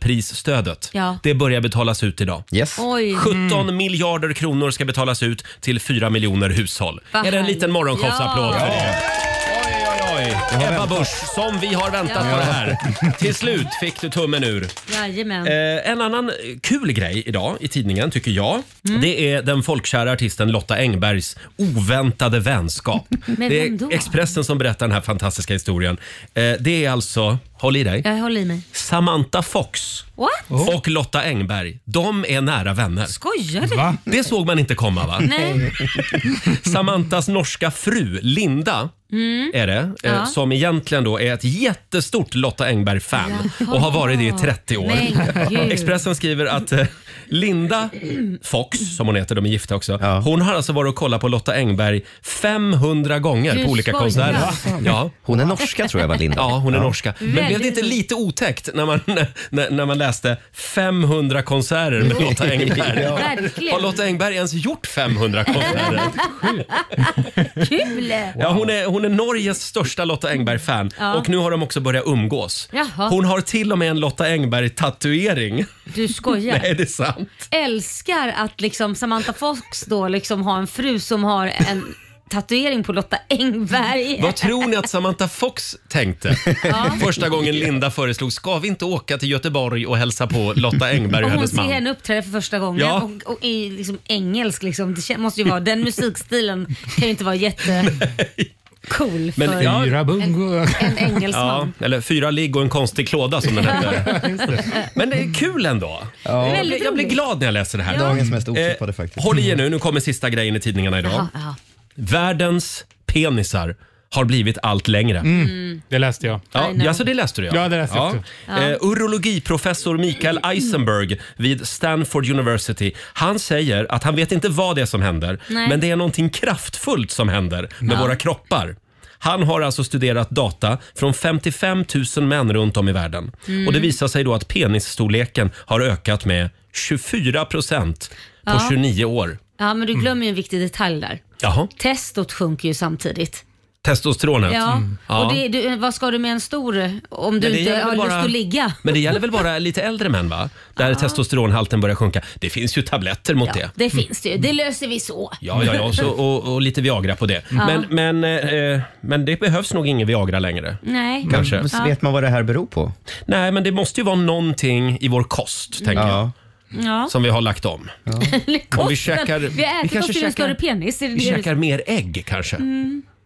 elprisstödet. Ja. Det börjar betalas ut idag. Yes. Oj. Mm. 17 miljarder kronor ska betalas ut till 4 miljoner hushåll. Vad är det en liten härligt. morgonshowsapplåd Ja. för det? Oj, oj, oj. Ebba Busch, som vi har väntat Ja. på det här. Till slut fick du tummen ur. Jajamän. Eh, en annan kul grej idag i tidningen tycker jag. Mm. Det är den folkkära artisten Lotta Engbergs oväntade vänskap. Med det vem då? är Expressen som berättar den här fantastiska historien. Eh, det är alltså, håll i dig, Jag håller i mig. Samantha Fox What? och Lotta Engberg. De är nära vänner. Skojar du? Va? Det såg man inte komma va? Nej. Samantas norska fru Linda är det, eh, Mm. Ja. som egentligen då är ett jättestort Lotta Engberg-fan Jaha. och har varit det i 30 år. Men gud. Expressen skriver att eh, Linda Fox, som hon heter, de är gifta också, Ja. hon har alltså varit och kollat på Lotta Engberg 500 gånger Du på olika skojar. konserter. Ja. Hon är norska tror jag var Linda. Ja, hon är norska. Men blev det Väldigt inte roligt. lite otäckt när man, när, när man läste 500 konserter med Lotta Engberg? Verkligen. Har Lotta Engberg ens gjort 500 konserter? Kul! Ja, hon, är, hon är Norges största Lotta Engberg-fan Ja. och nu har de också börjat umgås. Jaha. Hon har till och med en Lotta Engberg-tatuering. Du skojar. Är det sant? Älskar att liksom Samantha Fox då liksom har en fru som har en tatuering på Lotta Engberg. Vad tror ni att Samantha Fox tänkte Ja. första gången Linda föreslog ska vi inte åka till Göteborg och hälsa på Lotta Engberg och Och hon hennes ser man? henne uppträda för första gången Ja. och, och i liksom engelsk. Liksom. Det kän- måste ju vara, den musikstilen kan ju inte vara jättecool för Men ja, Fyra bungo. en Ja, engelsman. eller fyra ligg och en konstig klåda som den hette. Men det är kul ändå. Jag, Väldigt blir, jag blir roligt. glad när jag läser det här. Dagens mest Eh, håll i er nu, nu kommer sista grejen i tidningarna idag. Ja. Ja. Världens penisar har blivit allt längre. Mm. Det läste jag. Ja, I know. ja, så det läste du ja. Ja, det läste jag också. Eh, urologiprofessor Mikael Eisenberg vid Stanford University. Han säger att han vet inte vad det är som händer, Nej. men det är någonting kraftfullt som händer med våra kroppar. Han har alltså studerat data från 55 000 män runt om i världen. Mm. Och Det visar sig då att penisstorleken har ökat med 24 procent på Ja. 29 år. ja, men du Mm. glömmer ju en viktig detalj där. Jaha. Testot sjunker ju samtidigt. Testosteronet. Ja. Mm. Ja. Och det, du, vad ska du med en stor Men om du det inte gäller har bara- lust att ligga? Men det gäller väl bara lite äldre män va? Där testosteronhalten börjar sjunka. Det finns ju tabletter mot Ja, det. Mm. det finns det ju. Det löser vi så. Ja, ja, ja så, och, och lite Viagra på det. Men, men, eh, men det behövs nog ingen Viagra längre. Nej. Kanske. Men vet man vad det här beror på? Nej, men det måste ju vara någonting i vår kost, tänker jag, Ja. Ja. som vi har lagt om. Om vi käkar- vi vi äter kanske oss till en käkar- större penis. Är det Mm. Vi det du- käkar mer ägg kanske.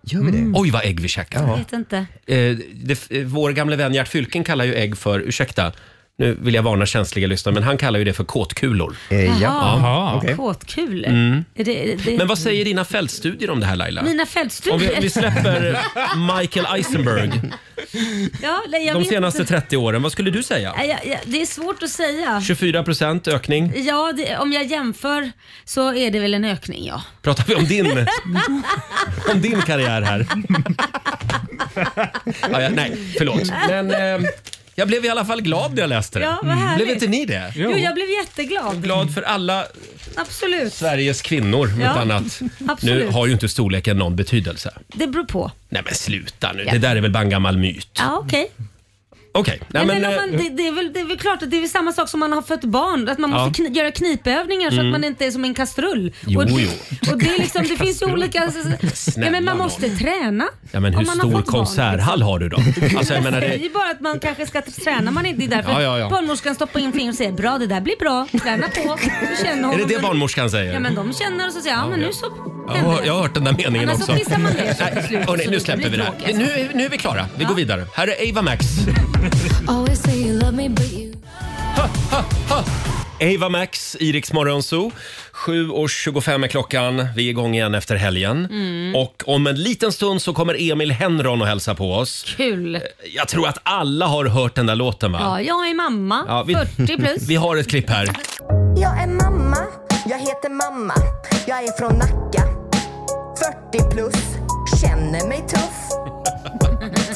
Gör vi det? Oj, vad ägg vi käkar. Jag vet inte. Eh, det, eh, vår gamle vän Gert Fylking kallar ju ägg för, ursäkta, nu vill jag varna känsliga lyssnare, men han kallar ju det för kåtkulor. Eh, ja. Jaha. okej. Kåtkulor. Är det, det... Mm. Men vad säger dina fältstudier om det här Laila? Mina Om vi, fältstudier? vi släpper Michael Eisenberg ja, nej, jag de vet senaste inte. 30 åren. Vad skulle du säga? Nej, jag- jag- Det är svårt att säga. 24 procent ökning. Ja, det, om jag jämför så är det väl en ökning ja. Pratar vi om din, om din karriär här? ja, ja, nej, förlåt. Men eh, jag blev i alla fall glad när jag läste det. Ja, vad härligt. blev inte ni det? Mm. Jo, jag blev jätteglad. Glad för alla Absolut. Sveriges kvinnor, om Ja, inte annat. Nu absolut. har ju inte storleken någon betydelse. Det beror på. Nej men sluta nu, det där är väl bara en gammal myt. Ja, okej. Okej. Mm. Nej, Nej, men, men, om man, eh, det, det, är väl, det är väl klart att det är väl samma sak som man har fött barn, att man Ja. Mm. måste kni, göra knipövningar så att man inte är som en kastrull. Jo, och, det- jo. Och det, är liksom, det finns ju olika... Snälla Ja, men man nån. måste träna. Ja, men hur om man har stor fått barn, liksom. konserthall har du då? Alltså, jag menar, Jag det, säger bara att man kanske ska träna man inte. Det är därför Ja, ja, ja. barnmorskan stoppar in fingret och säger bra det där blir bra, träna på. Du känner är honom. det det barnmorskan säger? Ja men de känner och så säger ja men nu så Jag har, jag har hört den där meningen Annars så också. fixar alltså, man det så till Nej, slut, hörni, så nu det släpper blir vi det här. tråkigt. Nu, nu är vi klara. Vi går vidare. Här är Ava Max. Ava Max i Rix Morgon Zoo. 7.25 är klockan. Vi är igång igen efter helgen. Mm. Och om en liten stund så kommer Emil Henron och hälsa på oss. Kul. Jag tror att alla har hört den där låten va? Ja, jag är mamma, Ja, vi- 40 plus. Vi har ett klipp här. Jag är mamma, jag heter mamma, jag är från Nacka 40 plus, känner mig tuff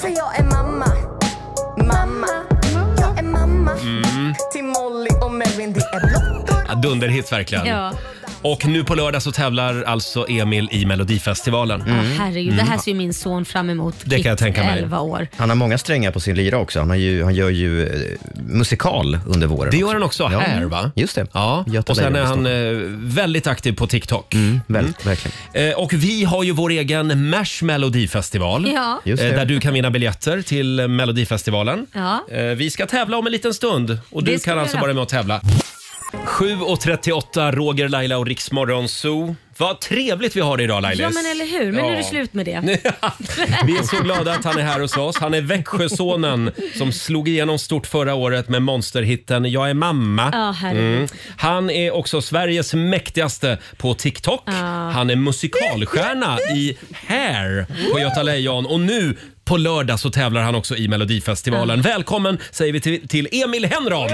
För jag är mamma, mamma Jag är mamma Till Molly och Melvin, det är blottor Ja, Dunderhit verkligen. Ja. Och nu på lördag så tävlar alltså Emil i Melodifestivalen. Mm. Ja, herregud, det här ser ju min son fram emot. Mm. Det kan jag Kit, tänka mig. 11 år. Han har många strängar på sin lyra också. Han, har ju, han gör ju eh, musikal under våren. Det gör också. han också Ja. här va? Just det. Ja, Göta Mm. och sen är Lejon han i eh, väldigt aktiv på TikTok. Väldigt, verkligen. Eh, och vi har ju vår egen Mash Melodifestival. Ja. Just Eh, det. där du kan vinna biljetter till eh, Melodifestivalen. Ja. Eh, vi ska tävla om en liten stund och Det du ska kan vi alltså göra. vara med och tävla. 7.38, Roger, Laila och Riksmorgon Zoo. Vad trevligt vi har det idag Lailis. ja, men eller hur. Men nu är Ja. det slut med det. Vi är så glada att han är här hos oss. Han är Växjösonen som slog igenom stort förra året med monsterhitten “Jag är mamma”. Mm. Ja, herregud. Han är också Sveriges mäktigaste på TikTok. Han är musikalstjärna i Hair på Göta Lejon och nu på lördag så tävlar han också i Melodifestivalen. Välkommen säger vi till, till Emil Henron!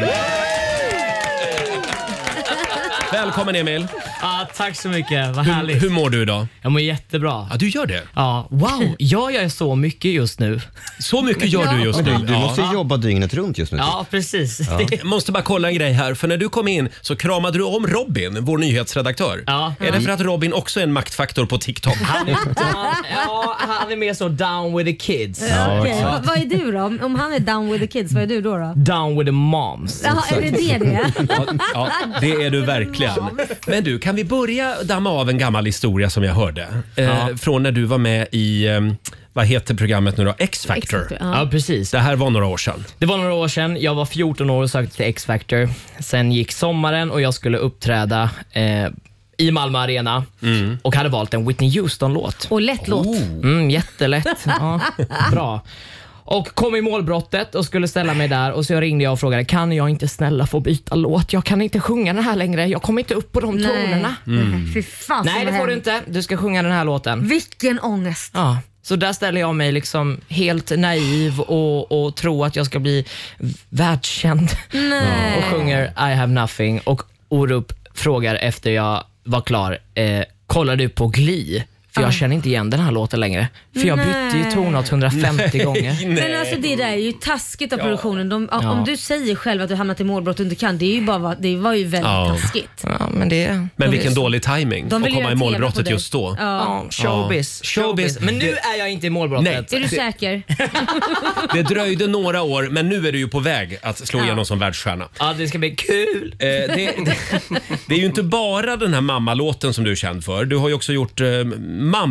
Välkommen Emil! Ja, tack så mycket. Vad Hur, härligt. hur mår du idag? Jag mår jättebra. Ja, du gör det? Ja, wow, jag gör så mycket just nu. Så mycket gör du just nu. Du Ja. måste ju jobba dygnet runt just nu. Ja, precis. Det- Jag måste bara kolla en grej här, för när du kom in så kramade du om Robin, vår nyhetsredaktör. Ja. Är det för att Robin också är en maktfaktor på TikTok? Han, han, ja, han är mer så down with the kids. Okej, vad- Vad är du då? Om, om han är down with the kids, vad är du då? då? Down with the moms. Jaha, är det det det? Ja, ja, det är du verkligen. Men du, kan vi börja damma av en gammal historia som jag hörde? Eh, Ja. Från när du var med i, eh, vad heter programmet nu då? X-Factor. Ja. Ja, precis. Det här var några år sedan. Det var några år sedan. Jag var 14 år och sökte till X-Factor. Sen gick sommaren och jag skulle uppträda eh, i Malmö Arena och hade valt en Whitney Houston-låt. Och lätt låt. Oh. Mm, jättelätt. Ja, bra. Och kom i målbrottet och skulle ställa mig där och så jag ringde jag och frågade kan jag inte snälla få byta låt? Jag kan inte sjunga den här längre. Jag kommer inte upp på de tonerna. Mm. Fy fan, Nej, vad det får du hemskt. inte. Du ska sjunga den här låten. Vilken ångest. Ja. Så där ställer jag mig liksom helt naiv och, och tror att jag ska bli världskänd Nej. och sjunger I have nothing och Orup frågar efter jag var klar, eh, kollar du på Glee? För jag känner inte igen den här låten längre. För jag bytte ju Nej. tonart 150 gånger. Men alltså det där är ju taskigt av produktionen. De, ja. Om du säger själv att du hamnat i målbrott och inte kan, det, är ju bara, va- det var ju väldigt Ja. taskigt. Ja, men det... Men vilken dålig timing De att vill komma göra i TV på målbrottet dig. just då. Ja. Ja, showbiz, Ja. Showbiz. showbiz. Men nu är jag inte i målbrottet. Nej. Är du säker? Det dröjde några år, men nu är du ju på väg att slå Ja. igenom som världsstjärna. Ja, det ska bli kul. Eh, det, det, det är ju inte bara den här mammalåten som du är känd för. Du har ju också gjort eh,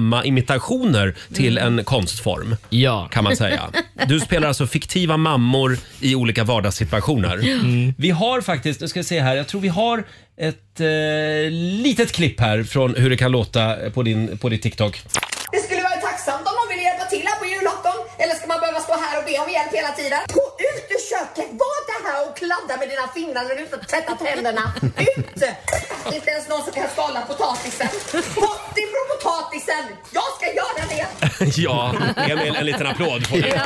mammaimitationer till en konstform. Mm. Ja. Kan man säga. Du spelar alltså fiktiva mammor i olika vardagssituationer. Mm. Vi har faktiskt, nu ska vi se här, jag tror vi har ett eh, litet klipp här från hur det kan låta på din, på din TikTok. Det skulle vara tacksamt om någon ville hjälpa till här på julafton. Eller ska man behöva stå här och be om hjälp hela tiden? Gå ut ur köket, var inte här och kladda med dina fingrar när du inte har tvättat händerna. Ut! Inte ens någon som kan skala potatisen. Bort ifrån potatisen! Jag ska göra det! ja, Emil, en liten applåd på det.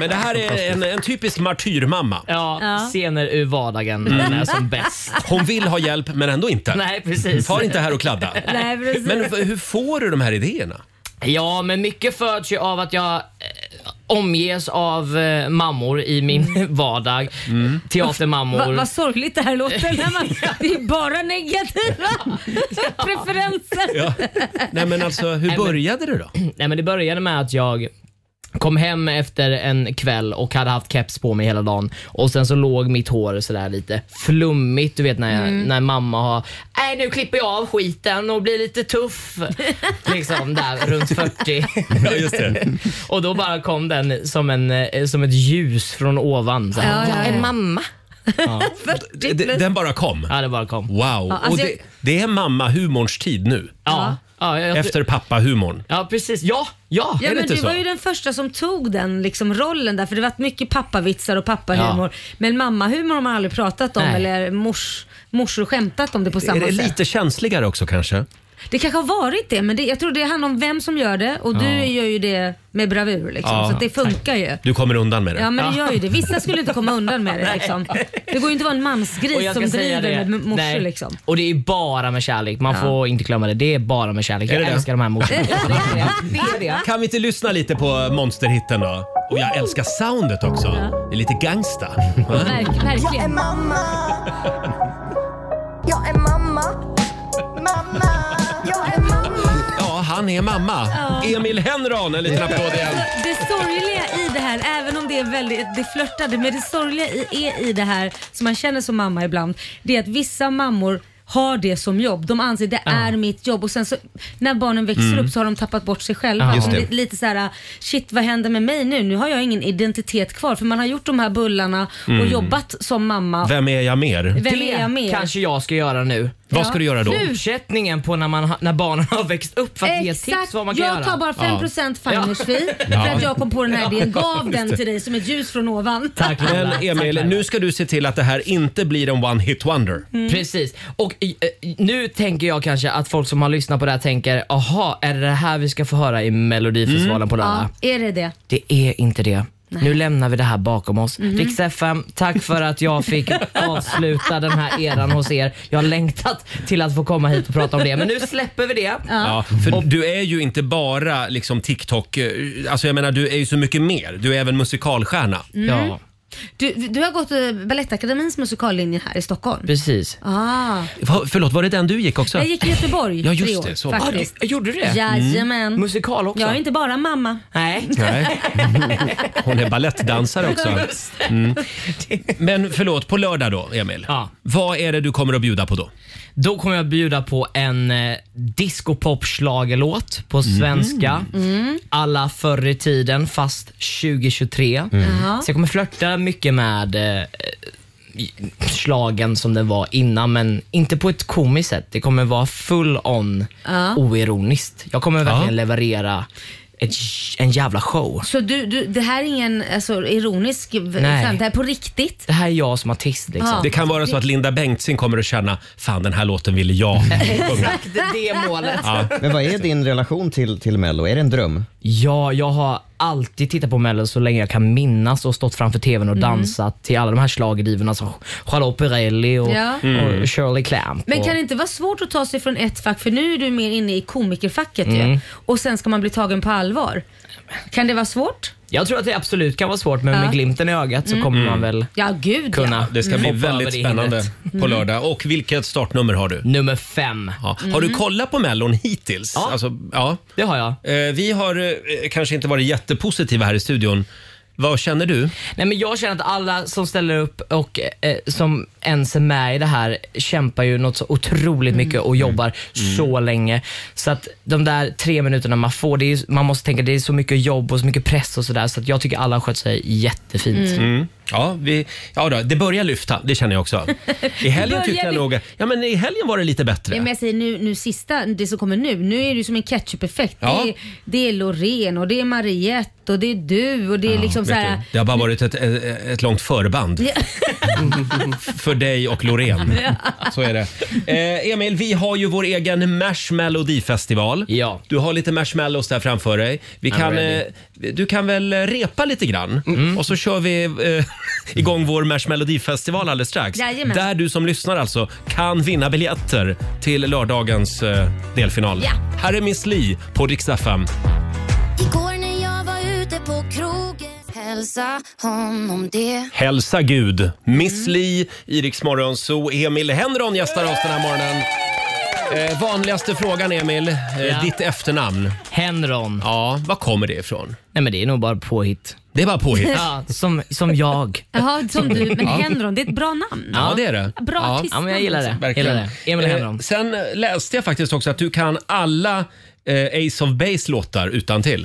Men det här är en, en typisk martyrmamma. Ja, scener ur vardagen Mm. när jag är som bäst. Hon vill ha hjälp, men ändå inte. Nej, precis. Far inte här och kladda. Nej, precis. Men v- hur får du de här idéerna? Ja, men mycket föds ju av att jag eh, omges av eh, mammor i min vardag. Teatermammor. Va, vad sorgligt det här låter. När man, det är bara negativa preferenser. Nej men alltså, hur men- började det då? Nej, men det började med att jag Kom hem efter en kväll och hade haft keps på mig hela dagen och sen så låg mitt hår sådär lite flummigt, du vet när, jag, Mm. när mamma har Nej nu klipper jag av skiten och blir lite tuff. liksom där runt 40. Ja, just det. och då bara kom den som, en, eh, som ett ljus från ovan. Så här. Ja, ja, ja. En mamma. D- d- Den bara kom? Ja, den bara kom. Wow. alltså och jag- det, det är mammahumorns tid nu. Ja. Ja, jag- Efter pappahumorn. Ja, precis. Ja, ja. är Ja, det men inte du så? var ju den första som tog den liksom, rollen där, för det har varit mycket pappavitsar och pappahumor. Men mammahumor har man aldrig pratat om Nej. eller mors, morsor skämtat om det på Är samma det sätt. lite känsligare också kanske? Det kanske har varit det, men det, jag tror det handlar om vem som gör det och Ja. du gör ju det med bravur liksom, Ja. så att det funkar ju. Du kommer undan med det. Ja men det gör ju det. Vissa skulle inte komma undan med det. Liksom. Det går ju inte att vara en Och mansgris jag som ska säga driver det. med morsor Nej. liksom. Och det är bara med kärlek. Man Ja. får inte glömma det. Det är bara med kärlek. Är Jag det det? älskar de här morsorna. Kan vi inte lyssna lite på monsterhitten då? Och jag älskar soundet också. Det är lite gangsta. Va? Jag är mamma. Jag är mamma. Mamma. Jag är mamma. Ja, han är mamma. Ja. Emil Henron, en liten applåd igen. Det sorgliga i det här, även om det är väldigt, det flörtade, men det sorgliga i, är i det här som man känner som mamma ibland, det är att vissa mammor har det som jobb. De anser det Ja. är mitt jobb och sen så när barnen växer Mm. upp så har de tappat bort sig själva. Ja. Just De det. blir lite så här, shit vad händer med mig nu? Nu har jag ingen identitet kvar för man har gjort de här bullarna och Mm. jobbat som mamma. Vem är jag mer? Vem är jag mer? kanske jag ska göra nu. Vad ska du göra då? Fortsättningen på när, man, ha- när barnen har växt upp för att ge tips Exakt, vad man kan jag göra. tar bara 5% Fanners fee Ja. för att jag kom på den här idén. Gav Just det. den till dig som ett ljus från ovan. Men Emil, nu ska du se till att det här inte blir en one hit wonder. Mm. Precis. Och i- eh, nu tänker jag kanske att folk som har lyssnat på det här tänker, aha, är det det här vi ska få höra i Melodifestivalen på lördag? Ja, är det det? Det är inte det. Nej. Nu lämnar vi det här bakom oss. Mhm. Rix FM, tack för att jag fick avsluta den här eran hos er. Jag har längtat till att få komma hit och prata om det, men nu släpper vi det. Ja, för du är ju inte bara liksom TikTok, eh, alltså jag menar du är ju så mycket mer. Du är även musikalstjärna. Mm. Ja. Du, du har gått eh, Balettakademins musikallinje här i Stockholm. Precis. Ah. Va, förlåt, var det den du gick också? Jag gick i Göteborg Ja, just tre år, det, så var det. faktiskt. Ah, Gjorde du det? Jajamän. Mm. Musikal också? Jag är inte bara mamma. Nej. Nej. Hon är balettdansare också. Mm. Men förlåt, på lördag då, Emil. Vad är det du kommer att bjuda på då? Då kommer jag bjuda på en eh, discopop schlagerlåt på Mhm. svenska. Mm. Alla förr i tiden fast 2023. Mm. Jaha. Så jag kommer flörta mycket med eh, slagen som den var innan men inte på ett komiskt sätt. Det kommer vara full on Ja. oironiskt. Jag kommer verkligen Ja. leverera ett, en jävla show. Så du, du, det här är ingen alltså, ironisk v- Nej. skämt, det här är på riktigt. Det här är jag som artist. liksom. Ja. Det kan vara så att Linda Bengtzing kommer att känna, fan den här låten ville jag sjunga. det målet. Men vad är din relation till, till Mello? Är det en dröm? Ja, jag har alltid tittat på Mello så länge jag kan minnas och stått framför tvn och Mm. dansat till alla de här schlagerdivorna som Charlotte Perrelli och, Ja. Mm. och Shirley Clamp. Men och, kan det inte vara svårt att ta sig från ett fack? För nu är du mer inne i komikerfacket ju. Mm. Och sen ska man bli tagen på allvar. Kan det vara svårt? Jag tror att det absolut kan vara svårt, men Ja. med glimten i ögat så Mm. kommer man Mm. väl Ja, gud kunna Det ska bli hoppa väldigt över det spännande hindret. på Mm. lördag. Och vilket startnummer har du? Nummer fem. Ja. Har du Mm. kollat på Mellon hittills? Ja. Alltså, ja, det har jag. Vi har eh, kanske inte varit jättepositiva här i studion. Vad känner du? Nej, men jag känner att alla som ställer upp och eh, som ens är med i det här kämpar ju något så otroligt mycket och jobbar så länge. Så att de där tre minuterna man får, det är, ju- man måste tänka det är så mycket jobb och så mycket press och sådär. Så att jag tycker alla har skött sig jättefint. Mm. Ja, vi, ja då, det börjar lyfta, det känner jag också. I helgen Börjar tyckte jag ly- nog... Ja, men i helgen var det lite bättre. Nej, men jag säger nu, nu sista, det som kommer nu, nu är det ju som en ketchup-effekt. Ja. Det, är, det är Loreen och det är Mariette och det är du och det är liksom Vet så du, här. det har bara varit ett, ett, ett långt förband Ja. för dig och Loreen. Så är det. Eh, Emil, vi har ju vår egen Marshmelodifestival. Ja. Du har lite marshmallows där framför dig. Vi I'm kan, eh, ready. Mm. du kan väl repa lite grann och så kör vi eh, igång vår Marshmelodifestival alldeles strax. Jajamän. Där du som lyssnar alltså kan vinna biljetter till lördagens eh, delfinal. Ja. Här är Miss Li på Rix FM. Igår när jag var ute på krogen Hälsa honom det Hälsa Mm. Gud. Miss Li, Iriks morgonzoo, Emil Henron gästar oss den här morgonen. Eh, vanligaste frågan Emil, eh, Ja. ditt efternamn. Henron. Ja, var kommer det ifrån? Nej men det är nog bara påhitt. Det är bara påhitt? Ja, som, som jag. Jaha, som du. Men Ja. Henron, det är ett bra namn. Ja, det är det. Bra ja. artistnamn. liksom. också. Verkligen. Gillar det. Emil Eh, Henron. Sen läste jag faktiskt också att du kan alla eh, Ace of Base låtar utan till.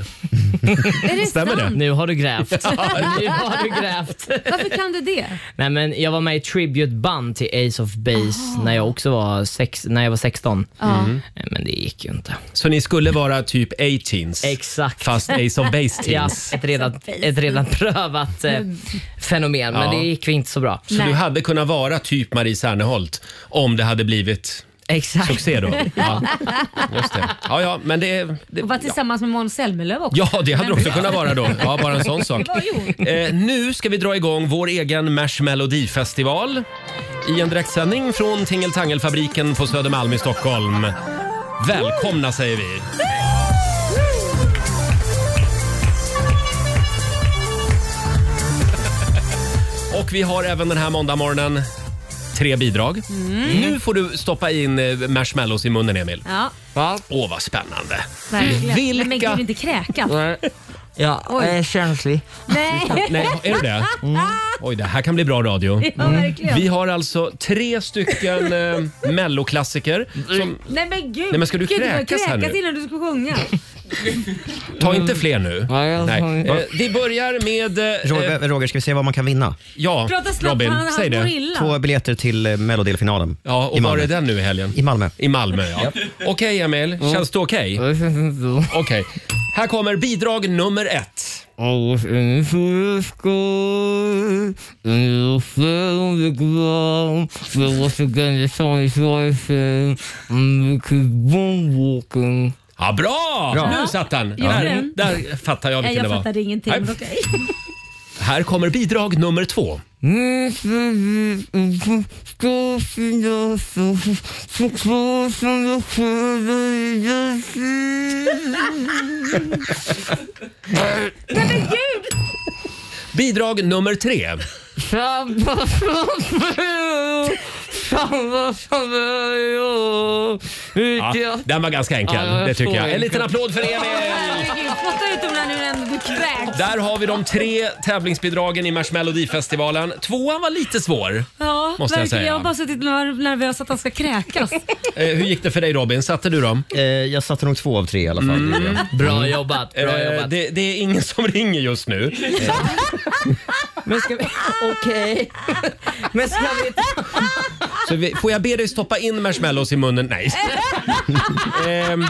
Är det Stämmer det? sant? Nu har du grävt. Nu har du grävt. Varför kan du det? Nej, men jag var med i ett tributeband till Ace of Base när jag också var, sex, när jag var 16. Ja. Mm. Men det gick ju inte. Så ni skulle vara typ A-teens? Exakt. Fast Ace of Base Ja, teens. ett, redan, ett redan prövat Mm. eh, fenomen, men Ja. det gick inte så bra. Så du hade kunnat vara typ Marie Serneholt om det hade blivit Exakt. succé då? Ja, just det. Ja, ja, men det... det Och var ja. tillsammans med Måns Zelmerlöw också. Ja, det hade Men- det också kunnat vara då. Ja, bara en sån sak. Eh, nu ska vi dra igång vår egen Marshmelodifestival i en direktsändning från Tingeltangelfabriken på Södermalm i Stockholm. Välkomna säger vi. Och vi har även den här måndagmorgonen tre bidrag. Mm. Nu får du stoppa in eh, marshmallows i munnen, Emil. Ja, Va? Åh, vad spännande. verkligen. Vilka? Men gud, inte kräkas. Ja, Oj. jag är känslig. Nej. Nej, är du det? Oj, det här kan bli bra radio. Ja, Mm. verkligen. Vi har alltså tre stycken eh, melloklassiker. Som, Nej men gud. Nej, men ska du gud, började kräkas här nu? innan du skulle sjunga. ta inte fler nu. Mm. Nej. Eh, Va? vi börjar med... eh, Roger, Roger, ska vi se vad man kan vinna? Ja, Prata snabbt, Robin, han- han säg det. mår illa. Två biljetter till eh, Melodilfinalen. Ja, och var är den nu i helgen? I Malmö. I Malmö, ja. Okej, Emil. Känns det okej? Okej. Här kommer bidrag nummer ett. Ja, bra! Bra. Nu satt han. Ja. Där, där fattar jag Nej, vilken jag det var. fattade ingenting. Nej. men Okej. Här kommer bidrag nummer två. Nej men gud! Bidrag nummer tre. Ja, den var ganska enkel, Ja, jag det tycker förstår jag. En inte. liten applåd för Emil! Herregud, Spotta ut dem när nu ändå du kräks. Där har vi de tre tävlingsbidragen i Marshmelodifestivalen. Tvåan var lite svår. Ja, Måste jag verkligen. säga. Jag har bara suttit och varit nervös att han ska kräkas. Eh, hur gick det för dig Robin? Satte du dem? Eh, jag satte nog två av tre i alla fall. Mm. Bra jobbat, bra Eh, jobbat. Det, det är ingen som ringer just nu. Men ska vi... Okej. Men ska vi... Så vi, får jag be dig stoppa in marshmallows i munnen? Nej. Ehm,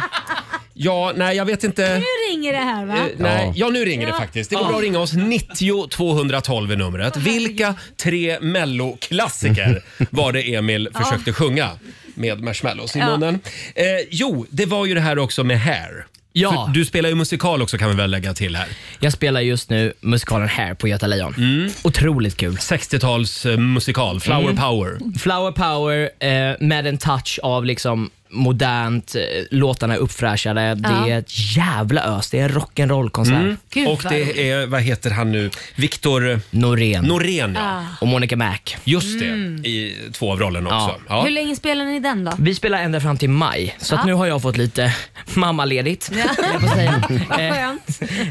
ja, nej jag vet inte. Nu ringer det här va? Eh, Nej, ja, nu ringer det faktiskt. Det går Ja. bra att ringa oss. 90 212 är numret. Vilka tre melloklassiker var det Emil Ja. försökte sjunga med marshmallows i Ja. munnen? Eh, jo, det var ju det här också med hair. Ja. För du spelar ju musikal också kan vi väl lägga till här. Jag spelar just nu musikalen Hair på Göta Lejon. Mm. Otroligt kul. 60-tals eh, musikal, Flower Mm. Power. Flower power eh, med en touch av liksom modernt, eh, låtarna är uppfräschade. Ja. Det är ett jävla ös. Det är en rock'n'roll-konsert. Mm. Gud, Och vad det roligt. är, vad heter han nu, Viktor Norén. Norén, ja. Ah. Och Monica Mac. Just det, Mm. i två av rollerna också. Hur länge spelar ni den då? Vi spelar ända fram till maj, så Ja. att nu har jag fått lite mammaledigt. Ja. Eh,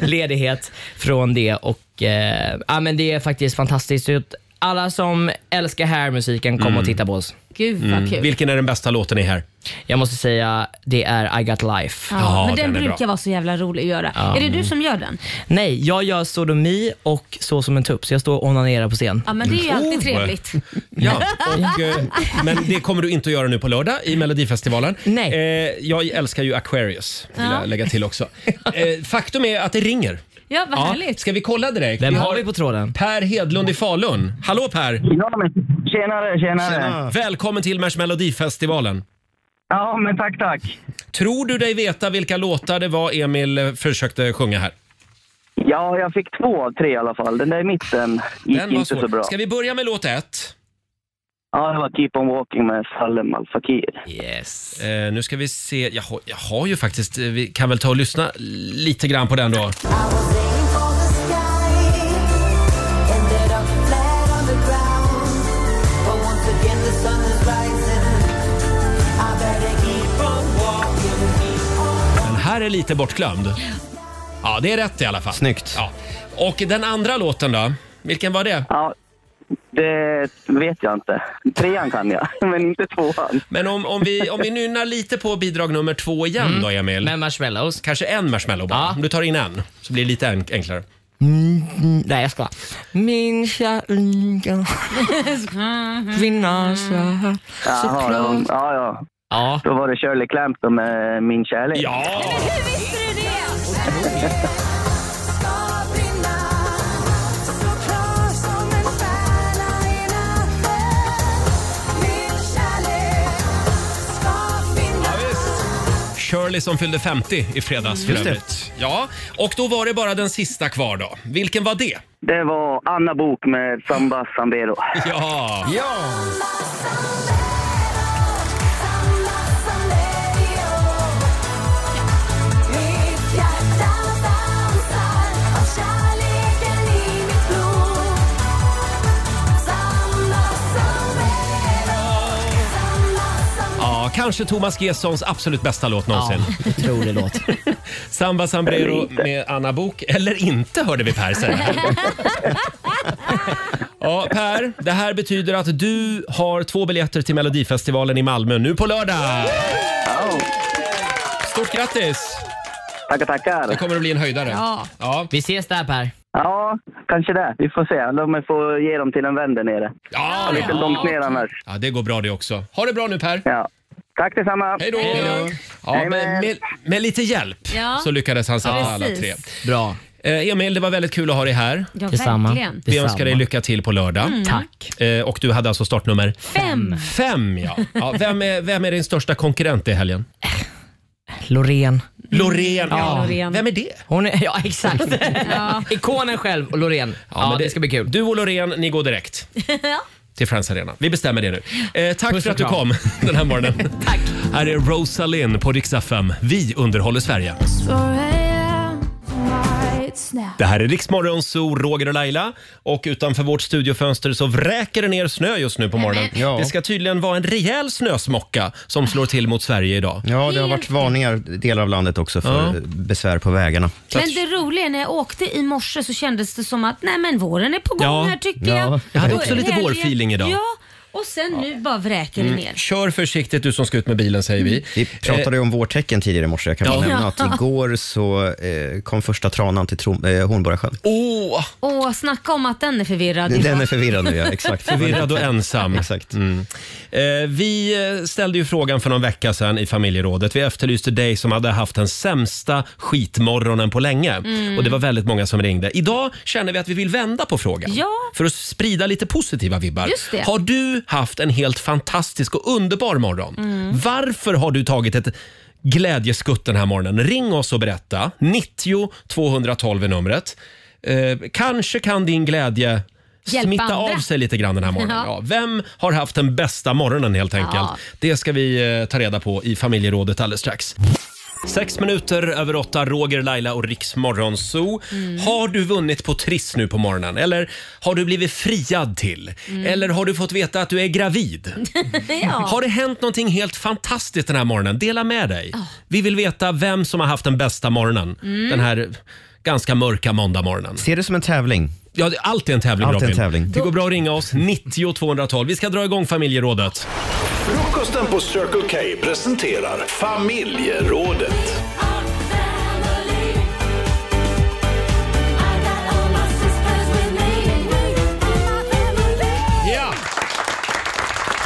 ledighet från det. Och, eh, ja, men det är faktiskt fantastiskt. Så att Alla som älskar hair-musiken, kom Mm. och titta på oss. Gud vad kul. Vilken är den bästa låten i här? Jag måste säga, det är I got life. Ja, men den, brukar vara så jävla rolig att göra. Ja. Är det mm. du som gör den? Nej, jag gör sodomi och så som en tupp, så jag står och onanerar på scen. Ja, men det är ju alltid Oh. trevligt. Ja, och, eh, men det kommer du inte att göra nu på lördag i Melodifestivalen. Nej. Eh, jag älskar ju Aquarius, vill Ja. jag lägga till också. Eh, faktum är att det ringer. Ja, vad Ja. härligt. Ska vi kolla direkt? Vem har vi på tråden? Per Hedlund i Falun. Hallå Per! Ja, men, tjenare, tjenare. Tjena. Välkommen till Melodifestivalen. Ja, men tack, tack. Tror du dig veta vilka låtar det var Emil eh, försökte sjunga här? Ja, jag fick två av tre i alla fall. Den där i mitten gick Den var inte svår. så bra. Ska vi börja med låt ett? Ja, det var Keep on Walking med Salem alltså. Al Fakir. Yes. Eh, nu ska vi se. Jag har, jag har ju faktiskt... eh, Vi kan väl ta och lyssna lite grann på den då. But once again the sun is rising. I better keep är lite bortglömd. Ja, det är rätt i alla fall. Snyggt. Ja. Och den andra låten då? Vilken var det? Ja, det vet jag inte. Trean kan jag, men inte tvåan. Men om, om, vi, om vi nynnar lite på bidrag nummer två igen då, Emil. Med marshmallows. Kanske en marshmallow bara. Om du tar in en så blir det lite enk- enklare. Mm, nej, jag ska. Min kärlek kvinna så här. Jaha, ja, ja, ja. ja. Då var det Shirley Clampton med Min kärlek. Ja! Shirley som fyllde 50 i fredags för Just det. övrigt. Ja, och då var det bara den sista kvar då. Vilken var det? Det var Anna Bok med Samba Sambero. Ja! ja. Ja, kanske Thomas Gessons absolut bästa låt någonsin. Ja, otrolig låt. Samba Sambrero med Anna Bok eller inte hörde vi Per säga. Ja, Per, det här betyder att du har två biljetter till Melodifestivalen i Malmö nu på lördag. Stort grattis! Tackar, tackar. Det kommer att bli en höjdare. Ja. ja. Vi ses där Per. Ja, kanske det. Vi får se. Låt mig få ge dem till en vän där nere. Ja, lite ja. långt ner annars. Ja, det går bra det också. Ha det bra nu Per. Ja. Tack detsamma. Hej då! Ja, med, med, med lite hjälp Ja. så lyckades han sätta Ja. alla Precis. tre. Eh, Bra. Emil, det var väldigt kul att ha dig här. Ja, Detsamma. verkligen. Vi Detsamma. önskar dig lycka till på lördag. Mm. Tack. Och du hade alltså startnummer? Fem. Fem, ja. ja vem, är, vem är din största konkurrent i helgen? Loreen. Loreen, ja. Vem är det? Hon är, ja, exakt. Ikonen själv och Loreen. Ja, men det ska bli kul. Du och Loreen, ni går direkt. till Friends Arena. Vi bestämmer det nu. Eh, tack Puss för och att du kram. kom den här morgonen. tack. Här är Rosalind på Rix FM. Vi underhåller Sverige. Det här är Riksmorgon, så Roger och Laila. Och utanför vårt studiofönster så vräker det ner snö just nu på morgonen. Nämen. Ja. Det ska tydligen vara en rejäl snösmocka som slår till mot Sverige idag. Ja, det har varit varningar i delar av landet också för Ja. besvär på vägarna. Men det roliga är när jag åkte i morse så kändes det som att nej men våren är på gång Ja. här tycker Ja. jag. Jag hade Och också lite helgen- vårfeeling idag. Ja, och sen nu bara vräker det Mm. ner. Kör försiktigt du som ska ut med bilen säger vi. Vi pratade ju om vårtecken tidigare i morse. Jag kan Ja. bara nämna att Ja. igår så eh, kom första tranan till Trom- eh, Hornborgasjön. Åh, Åh, snacka om att den är förvirrad. Den är förvirrad nu, ja. Exakt. Förvirrad och ensam. Exakt. Mm. Eh, vi eh, ställde ju frågan för någon vecka sedan i familjerådet. Vi efterlyste dig som hade haft den sämsta skitmorgonen på länge. Mm. Och det var väldigt många som ringde. Idag känner vi att vi vill vända på frågan. Ja. För att sprida lite positiva vibbar. Just det. Har du haft en helt fantastisk och underbar morgon? Mm. Varför har du tagit ett glädjeskutt den här morgonen? Ring oss och berätta. 90 212 är numret. Eh, kanske kan din glädje Hjälpa smitta andra. av sig lite grann den här morgonen. Ja. Ja. Vem har haft den bästa morgonen helt enkelt? Ja. Det ska vi eh, ta reda på i familjerådet alldeles strax. Sex minuter över åtta, Roger, Laila och Riks Morgonzoo. Mm. Har du vunnit på Triss nu på morgonen? Eller har du blivit friad till? Mm. Eller har du fått veta att du är gravid? ja. Har det hänt någonting helt fantastiskt den här morgonen? Dela med dig. Vi vill veta vem som har haft den bästa morgonen. Mm. Den här ganska mörka måndagmorgonen. Ser det som en tävling. Ja, det är alltid en tävling Alltid en Robin. tävling. Det går bra att ringa oss, 90 212. Vi ska dra igång familjerådet. Frukosten på Circle K presenterar Familjerådet. Ja!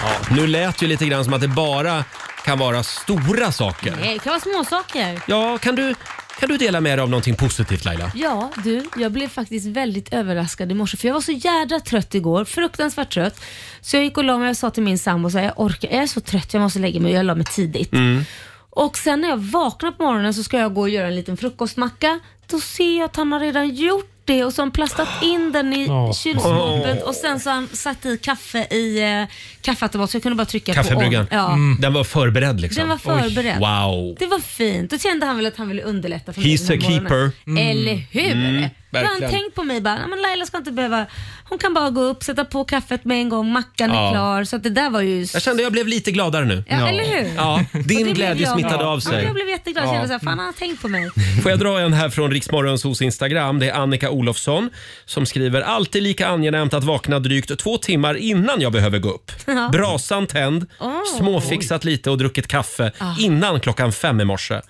Ja, nu lät ju lite grann som att det bara kan vara stora saker. Nej, Det kan vara småsaker. Ja, kan du, kan du dela med dig av någonting positivt Laila? Ja, du, jag blev faktiskt väldigt överraskad i morse för jag var så jädra trött igår, fruktansvärt trött. Så jag gick och la mig och sa till min sambo så här, jag orkar, jag är så trött, jag måste lägga mig och jag la mig tidigt. Mm. Och sen när jag vaknar på morgonen så ska jag gå och göra en liten frukostmacka. Då ser jag att han har redan gjort det och så har han plastat in den i Åh. kylskåpet Åh. och sen så har han satt i kaffe i eh, kaffeautomat så jag kunde bara trycka Kaffebryggan. på. Ja. Mm. Den var förberedd liksom? Den var förberedd. Oj, Wow. Det var fint. Då kände han väl att han ville underlätta för mig He's den a här morgonen. keeper. Mm. Eller hur? Mm, Då har han verkligen. tänkt på mig bara, "Nej, men Laila ska inte behöva, hon kan bara gå upp, sätta på kaffet med en gång, mackan Ja. är klar. Så att det där var ju... Jag kände jag blev lite gladare nu. Ja, eller hur? Ja, Och det din blev glädje jag. smittade av Ja, sig. jag blev jätteglad. Ja. Mm. Jag kände såhär, fan han har tänkt på mig. Får jag dra en här från Riksmorgons hos Instagram? Det är Annika Olofsson som skriver “Alltid lika angenämt att vakna drygt två timmar innan jag behöver gå upp. Ja. Brasan tänd, Åh. småfixat lite och druckit kaffe Ah. innan klockan fem i morse. Ah.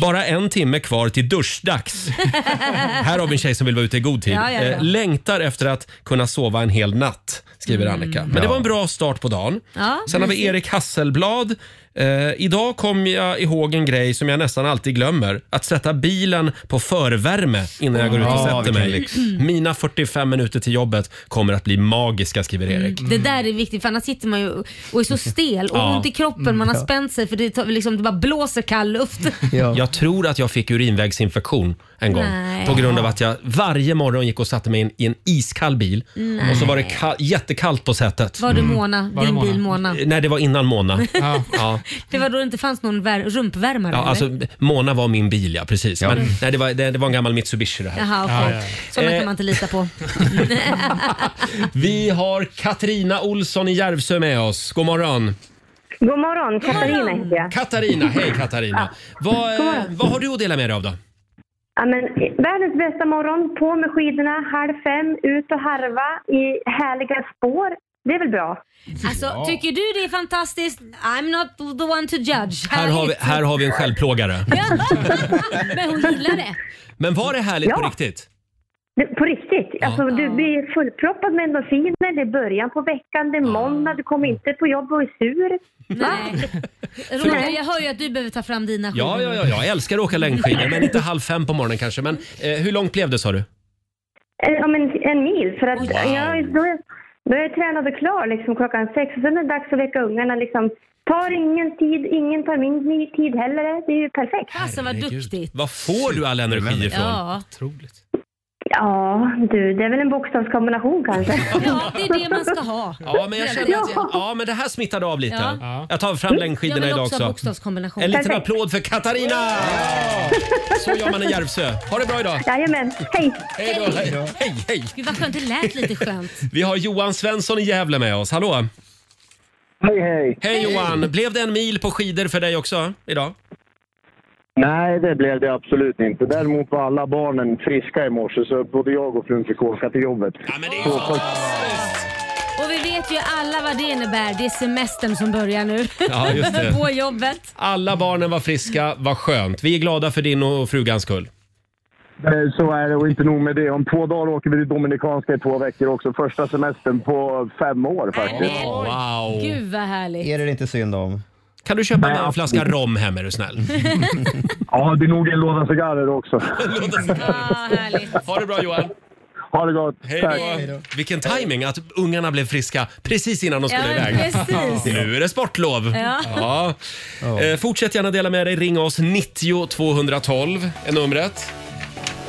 Bara en timme kvar till duschdags. Här har vi en tjej som vill vara ute i god tid. Ja, ja, ja. Eh, Längtar efter att kunna sova en hel natt, skriver Mm. Annika. Men det Ja. var en bra start på dagen. Ja, Sen har vi mysigt. Erik Hasselblad. Eh, idag kom jag ihåg en grej som jag nästan alltid glömmer. Att sätta bilen på förvärme innan jag går ut och Ja, sätter vilken mig. lyx. Mina 45 minuter till jobbet kommer att bli magiska, skriver Erik. Det där är viktigt för annars sitter man ju och är så stel och Ja. ont i kroppen. Man har spänt sig för det, tar- liksom, det bara blåser kall luft. Jag tror att jag fick urinvägsinfektion en gång Nej. på grund av att jag varje morgon gick och satte mig in i en iskall bil Nej. och så var det ka- jättekallt på sätet. Var det Mona? Var det Din Mona? bil Mona? Nej, det var innan Mona. Ja. Ja. Det var då det inte fanns någon vär- rumpvärmare? Ja, eller? alltså, Mona var min bil, ja. Precis. Men, Mm. nej, det, var, det, det var en gammal Mitsubishi det här. Jaha, okej. Sådana Eh, kan man inte lita på. Vi har Katarina Olsson i Järvsö med oss. God morgon. God morgon, Katarina heter jag. Katarina, hej Katarina. Vad, eh, God morgon. vad har du att dela med dig av då? Ja, men, eh, världens bästa morgon, på med skidorna, halv fem, ut och harva i härliga spår. Det är väl bra? Alltså, tycker du det är fantastiskt? I'm not the one to judge. Här har, vi, här har vi en självplågare. Men hon gillar det. Men var det härligt på Ja. riktigt? Det, på riktigt, alltså, du blir fullproppad med endorfiner, det är början på veckan, det är måndag, du kommer inte på jobb och är sur. Nej. Roger, jag hör ju att du behöver ta fram dina Ja, skidor. ja, ja, jag älskar att åka längdskidor, men inte halv fem på morgonen kanske. Men eh, hur långt blev det sa du? Eh, Om en, en mil, för att Oj. jag, då, är, då är jag tränad och klar liksom, klockan sex och sen är det dags att väcka ungarna. Liksom. Tar ingen tid, ingen tar min ny tid heller. eh. Det är ju perfekt. Alltså vad duktigt. Var får du all energi ifrån? Ja. Ja, du, det är väl en bokstavskombination kanske. ja, det är det man ska ha. Ja, men jag känner att jag, ja, men det här smittade av lite. Ja. Jag tar fram längdskidorna jag vill idag också. ha också. bokstavskombination. En liten applåd för Katarina! Så gör man i Järvsö. Ha det bra idag! Jajamän, hej! Hej då! Hej, hej! hej. Gud vad skönt, det lät lite skönt. Vi har Johan Svensson i Gävle med oss. Hallå! Hej, hej! Hej Johan! Blev det en mil på skidor för dig också idag? Nej, det blev det absolut inte. Däremot var alla barnen friska i morse så både jag och frun fick åka till jobbet. Så pass- Och vi vet ju alla vad det innebär. Det är semestern som börjar nu. Ja, just det. På jobbet. Alla barnen var friska, vad skönt. Vi är glada för din och frugans skull. Eh, Så är det och inte nog med det. Om två dagar åker vi till Dominikanska i två veckor också. Första semestern på fem år faktiskt. Wow! Gud vad härligt. Är det inte synd om? Kan du köpa med en flaska rom hem är du snäll? Ja, det är nog en låda cigarrer också. Ha det bra Johan! Ha det gott! Tack. Hej då! Vilken timing att ungarna blev friska precis innan de skulle Ja, iväg. precis. Nu är det sportlov. Ja. Ja. Eh, fortsätt gärna dela med dig. Ring oss 90 212 är numret.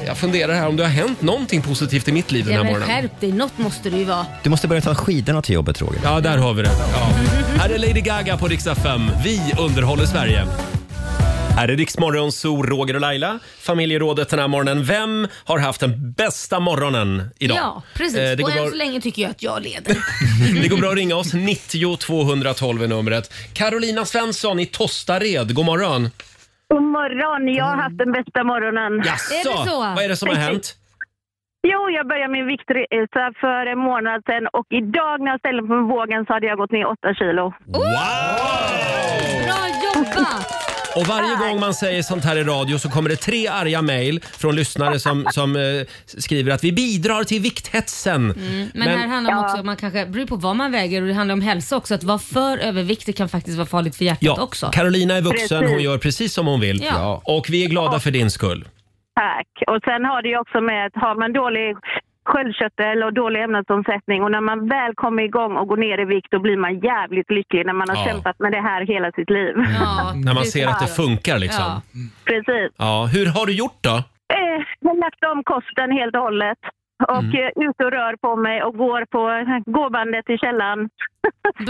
Jag funderar här om det har hänt någonting positivt i mitt liv den Ja, här men morgonen. skärp dig, något måste det ju vara. Du måste börja ta skidorna till jobbet, Roger. Ja, där har vi det. Ja. Här är Lady Gaga på Rix FM. Vi underhåller Sverige. Här är Rix Morgon, Zoo, Roger och Laila. Familjerådet den här morgonen. Vem har haft den bästa morgonen idag? Ja, precis. Eh, det, och går än bra, så länge tycker jag att jag leder. det går bra att ringa oss. 90 212 är numret. Carolina Svensson i Tostared, god morgon. God morgon, jag har haft den bästa morgonen. Jaså? Är det så? Vad är det som har hänt? Jo, jag började min viktresa för en månad sedan och idag när jag ställde mig på vågen så hade jag gått ner 8 kilo. Bra jobbat! Och varje gång man säger sånt här i radio så kommer det tre arga mejl från lyssnare som, som eh, skriver att vi bidrar till vikthetsen. Mm, men, här handlar det också om att man kanske, beror på vad man väger och det handlar om hälsa också. Att vara för överviktig kan faktiskt vara farligt för hjärtat Ja, också. Carolina är vuxen, Precis. hon gör precis som hon vill. Ja. Och vi är glada för din skull. Tack. Och sen har det ju också med att har man dålig sköldkörtel och dålig ämnesomsättning och när man väl kommer igång och går ner i vikt då blir man jävligt lycklig när man har Ja. kämpat med det här hela sitt liv. När man ser att det funkar liksom. Ja. Ja. Precis. hur har du gjort då? Eh, Jag har lagt om kosten helt och hållet. Och Mm. mm. ut och rör på mig och går på gåbandet i källaren.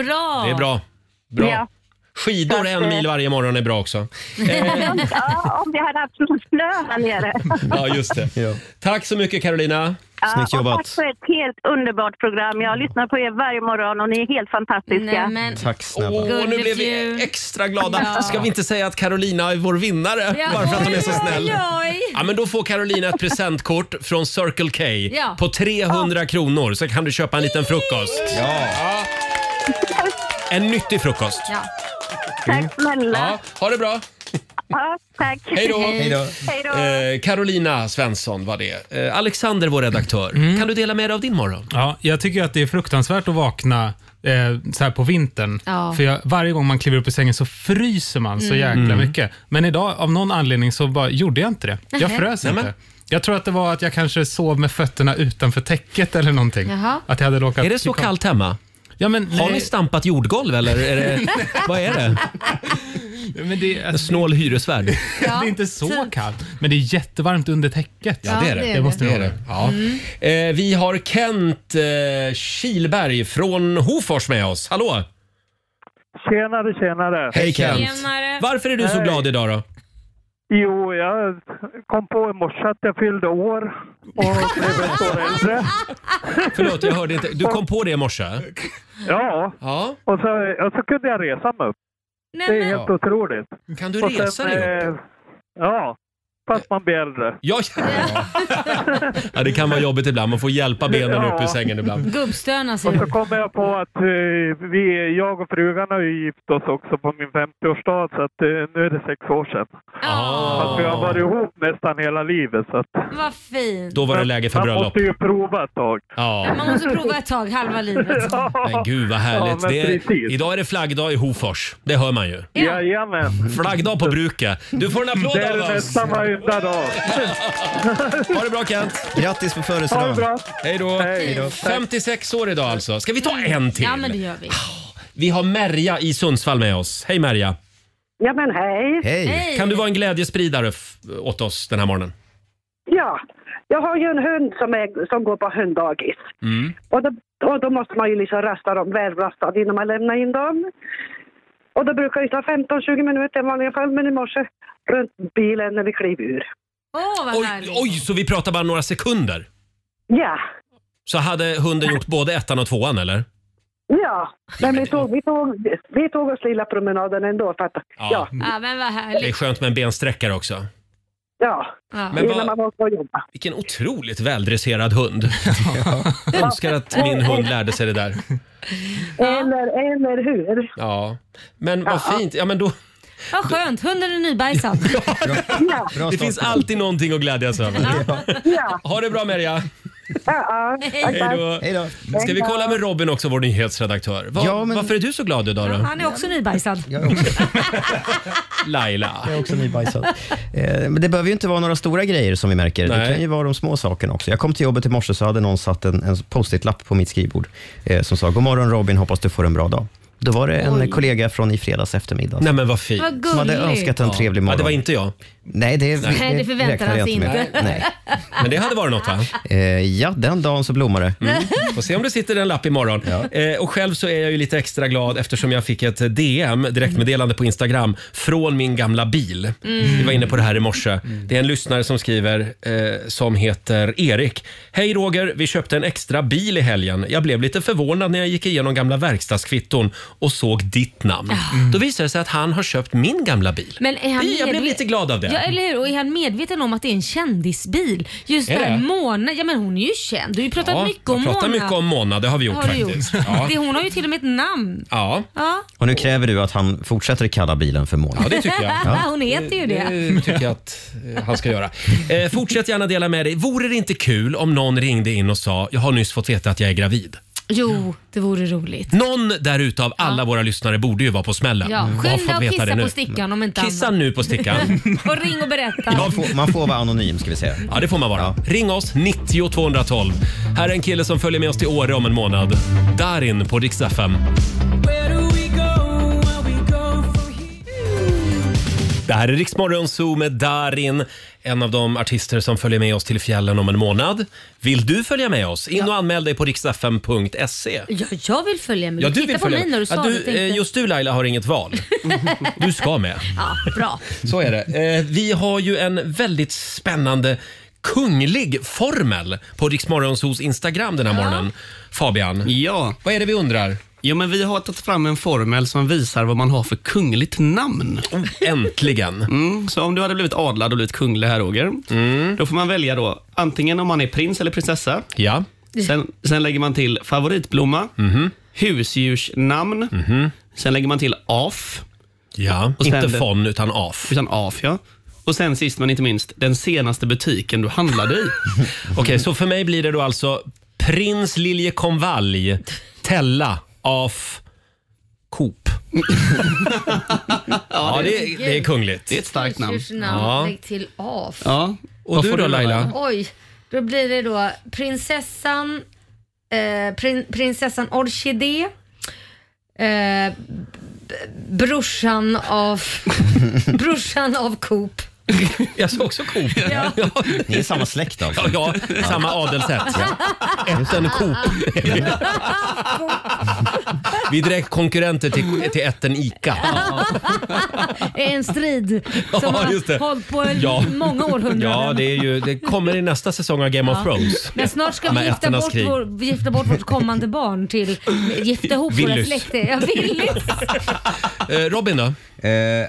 Bra! Det är bra. Bra. Ja. Skidor en mil varje morgon är bra också. ja, om vi hade haft snö här nere. Ja, just det. Tack så mycket Carolina. Ja, och Tack för ett helt underbart program. Jag lyssnar på er varje morgon och ni är helt fantastiska. Tack snälla. Åh, nu Gullig blev vi extra glada. Ska vi inte säga att Carolina är vår vinnare Ja, bara för att hon är så oj, snäll? oj, oj. Ja, men då får Carolina ett presentkort från Circle K Ja. på 300 kronor så kan du köpa en liten frukost. Ja. En nyttig frukost. Ja. Tack snälla. Ja, ha det bra. Ja, tack. Hej då! Hej då. Eh, Carolina Svensson var det. Eh, Alexander, vår redaktör. Kan du dela med dig av din morgon? Ja, jag tycker att det är fruktansvärt att vakna eh, så här på vintern. Ja. För jag, varje gång man kliver upp ur sängen så fryser man så Mm. jäkla Mm. mycket. Men idag, av någon anledning, så bara, gjorde jag inte det. Jag Nähä. frös Nämen. inte. Jag tror att det var att jag kanske sov med fötterna utanför täcket eller någonting. Jaha. Att jag hade råkat typ Är det så kallt hemma? Ja, men, Har ni stampat jordgolv eller är det, vad är det? Men det, En snål hyresvärd. det är inte så kallt, men det är jättevarmt under täcket. typ. Ja, det är det. Det måste Det ni är hålla. det. Ja. Eh, vi har Kent eh, Kilberg från Hofors med oss. Hallå! Tjenare, tjenare. Hej Kent! Varför är du så Hej. glad idag då? Jo, jag kom på i morse att jag fyllde år och blev ett år äldre. Förlåt, jag hörde inte. Du kom på det i morse? Ja. Och, så, och så kunde jag resa mig upp. det är helt otroligt. Kan du Och resa dig eh, Ja, fast man blir äldre. Ja, Ja, det kan vara jobbigt ibland. Man får hjälpa benen upp ur sängen ibland. Gubbstöna Och säger så du. kommer jag på att eh, vi, jag och frugan har ju gift oss också på min 50-årsdag så att eh, nu är det sex år sedan. Fast vi har varit ihop nästan hela livet så att Vad fint. Då var det läge för man bröllop. måste ju prova ett tag. Ja. Man måste prova ett tag, halva livet. Men gud vad Ja, härligt. men det är, precis. idag är det flaggdag i Hofors. Det hör man ju. Jajamän. Flaggdag på bruket. Du får en applåd Det är av det oss. nästan varenda dag. Ha det bra Kent! Grattis på Ha det bra. Hej då! Hej då. 56 år idag alltså. Ska vi ta en till? Ja, men det gör vi. Vi har Merja i Sundsvall med oss. Hej Merja! Ja, men hej. Kan du vara en glädjespridare f- åt oss den här morgonen? Ja, jag har ju en hund som, är, som går på hunddagis. Mm. Och då, och då måste man ju liksom rasta dem, välrastad innan man lämnar in dem. Och då brukar det ta 15-20 minuter i vanliga fall, men i morse runt bilen när vi klev ur. Åh, vad Oj, oj, så vi pratar bara några sekunder. Ja, Så hade hunden gjort både ettan och tvåan eller? ja. Men vi tog, vi tog, vi tog oss lilla promenaden ändå för att, Ja. ja. Ja, men vad Det är härligt. skönt med en bensträckare också. ja. Ja. Men innan vad- man var ute och jobba. Vilken otroligt väldresserad hund. Jag önskar att min hund lärde sig det där. Eller, eller hur? Ja, men vad fint. Ja, men då, Vad skönt, hunden är nybajsad. det finns alltid någonting att glädjas över. Ha det bra Merja. Hej då. Hej då. Ska vi kolla med Robin också, vår nyhetsredaktör. Va- Ja, men- Varför är du så glad idag då? Han är också nybajsad. Laila. Jag är också nybajsad. Eh, Men det behöver ju inte vara några stora grejer som vi märker. Nej. Det kan ju vara de små sakerna också. Jag kom till jobbet i morse så hade någon satt en, en post-it-lapp på mitt skrivbord eh, som sa God morgon Robin, hoppas du får en bra dag. Då var det en Oj. kollega från i fredags eftermiddag Nej, men vad fint. Vad som hade gulligt. önskat en Ja. trevlig morgon. Ja, det var inte jag. Nej, det, Nej, det förväntar räknar jag han sig med. inte. Nej. Men det hade varit något va? Eh, ja, den dagen så blommar det. Mm. Får se om det sitter en lapp imorgon. Eh, och själv så är jag ju lite extra glad eftersom jag fick ett DM, direktmeddelande på Instagram, från min gamla bil. Mm. Vi var inne på det här i morse. Det är en lyssnare som skriver, eh, som heter Erik. Hej Roger, vi köpte en extra bil i helgen. Jag blev lite förvånad när jag gick igenom gamla verkstadskvitton och såg ditt namn. Då visade det sig att han har köpt min gamla bil. Ah. Men är han Det- jag blev medve- lite glad av det. Ja, eller hur? Och är han medveten om att det är en kändisbil? Just Är där, det? Mona. Ja, men hon är ju känd. Du har ju pratat Ja, mycket jag om pratar Mona. mycket om Mona, det har vi gjort Har du faktiskt. gjort. Ja. Det, hon har ju till och med ett namn. Ja. Ja, Och nu kräver du att han fortsätter kalla bilen för Mona. Ja, det tycker jag. Ja, hon heter ju det. Det tycker jag att eh, han ska göra. Eh, fortsätt gärna dela med dig. Vore det inte kul om någon ringde in och sa “Jag har nyss fått veta att jag är gravid”? Jo, det vore roligt. Någon där ute av alla våra lyssnare borde ju vara på smällen. Ja, och har fått skynda och veta det kissa nu. på stickan om inte Kissa annat. nu på stickan. Och ring och berätta. Man får, man får vara anonym ska vi säga. Ja, det får man vara. Ring oss, 90 212. Här är en kille som följer med oss till Åre om en månad. Darin på Rix FM. Det här är Riksmorgon Zoo med Darin, en av de artister som följer med oss till fjällen om en månad. Vill du följa med oss? In och anmäl dig på riksfm.se. Ja, jag vill följa med. du Titta på mig med. när du Ja, sa du, det. tänkte- eh, Just du Laila har inget val. Du ska med. Ja, bra. Så är det. Eh, vi har ju en väldigt spännande kunglig formel på Riksmorgonsos Instagram den här morgonen. Fabian, Ja. vad är det vi undrar? Jo, men vi har tagit fram en formel som visar vad man har för kungligt namn. Oh, äntligen! Mm, så om du hade blivit adlad och blivit kunglig här, Roger, Mm. då får man välja då antingen om man är prins eller prinsessa. Ja. Sen, sen lägger man till favoritblomma, Mhm. husdjursnamn, sen lägger man till af. Ja, inte von, utan af. Utan af, ja. Och sen sist men inte minst, den senaste butiken du handlade i. Okej, så för mig blir det då alltså prins liljekonvalj, Tella, af Coop. ja, det, är- det är kungligt. Det är ett starkt namn. Ja. Lägg till av. Ja. Och Vad du får då, välja? Laila? Oj, då blir det då prinsessan, eh, prin, prinsessan Orkidé, eh, b- brorsan av, brorsan av Coop. Jag sa också Coop. Ja. Ni är samma släkt alltså? Ja, samma adelsätt. Ätten Coop. Vi är direkt konkurrenter till, till ätten Ica. en strid som Ja, just det. har hållit på i Ja. många århundraden. Ja, det, är ju, det kommer i nästa säsong av Game of Ja. Thrones. Men snart ska Med vi gifta ätternas bort, krig. vår, gifta bort vårt kommande barn till, gifta ihop våra Willys. släkter. Ja, Willys. Eh, Robin då?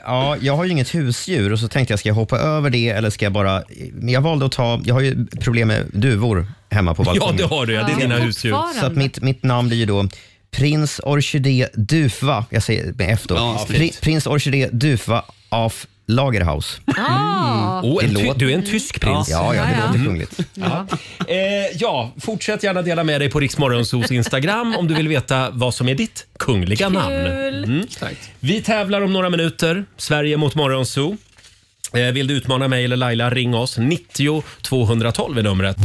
ja, jag har ju inget husdjur och så tänkte jag, ska jag hoppa över det eller ska jag bara... Men jag valde att ta, jag har ju problem med duvor hemma på balkongen. Ja, det har du, ja. Det är Ja, dina husdjur. fortfarande. Så att mitt, mitt namn blir ju då Prins Orkidé Duva, jag säger med F då. Ja, Pri, fint. prins Orkidé Duva af Lagerhaus. Ah. Oh, en Det ty- låter- du är en tysk prins. Ja, ja, det Ja, ja. låter kungligt. Ja. Eh, ja, fortsätt gärna dela med dig på Riksmorgonsos Instagram om du vill veta vad som är ditt kungliga namn. Mm. Vi tävlar om några minuter. Sverige mot Morgonzoo. Eh, vill du utmana mig eller Laila, ring oss. 90 212 är numret.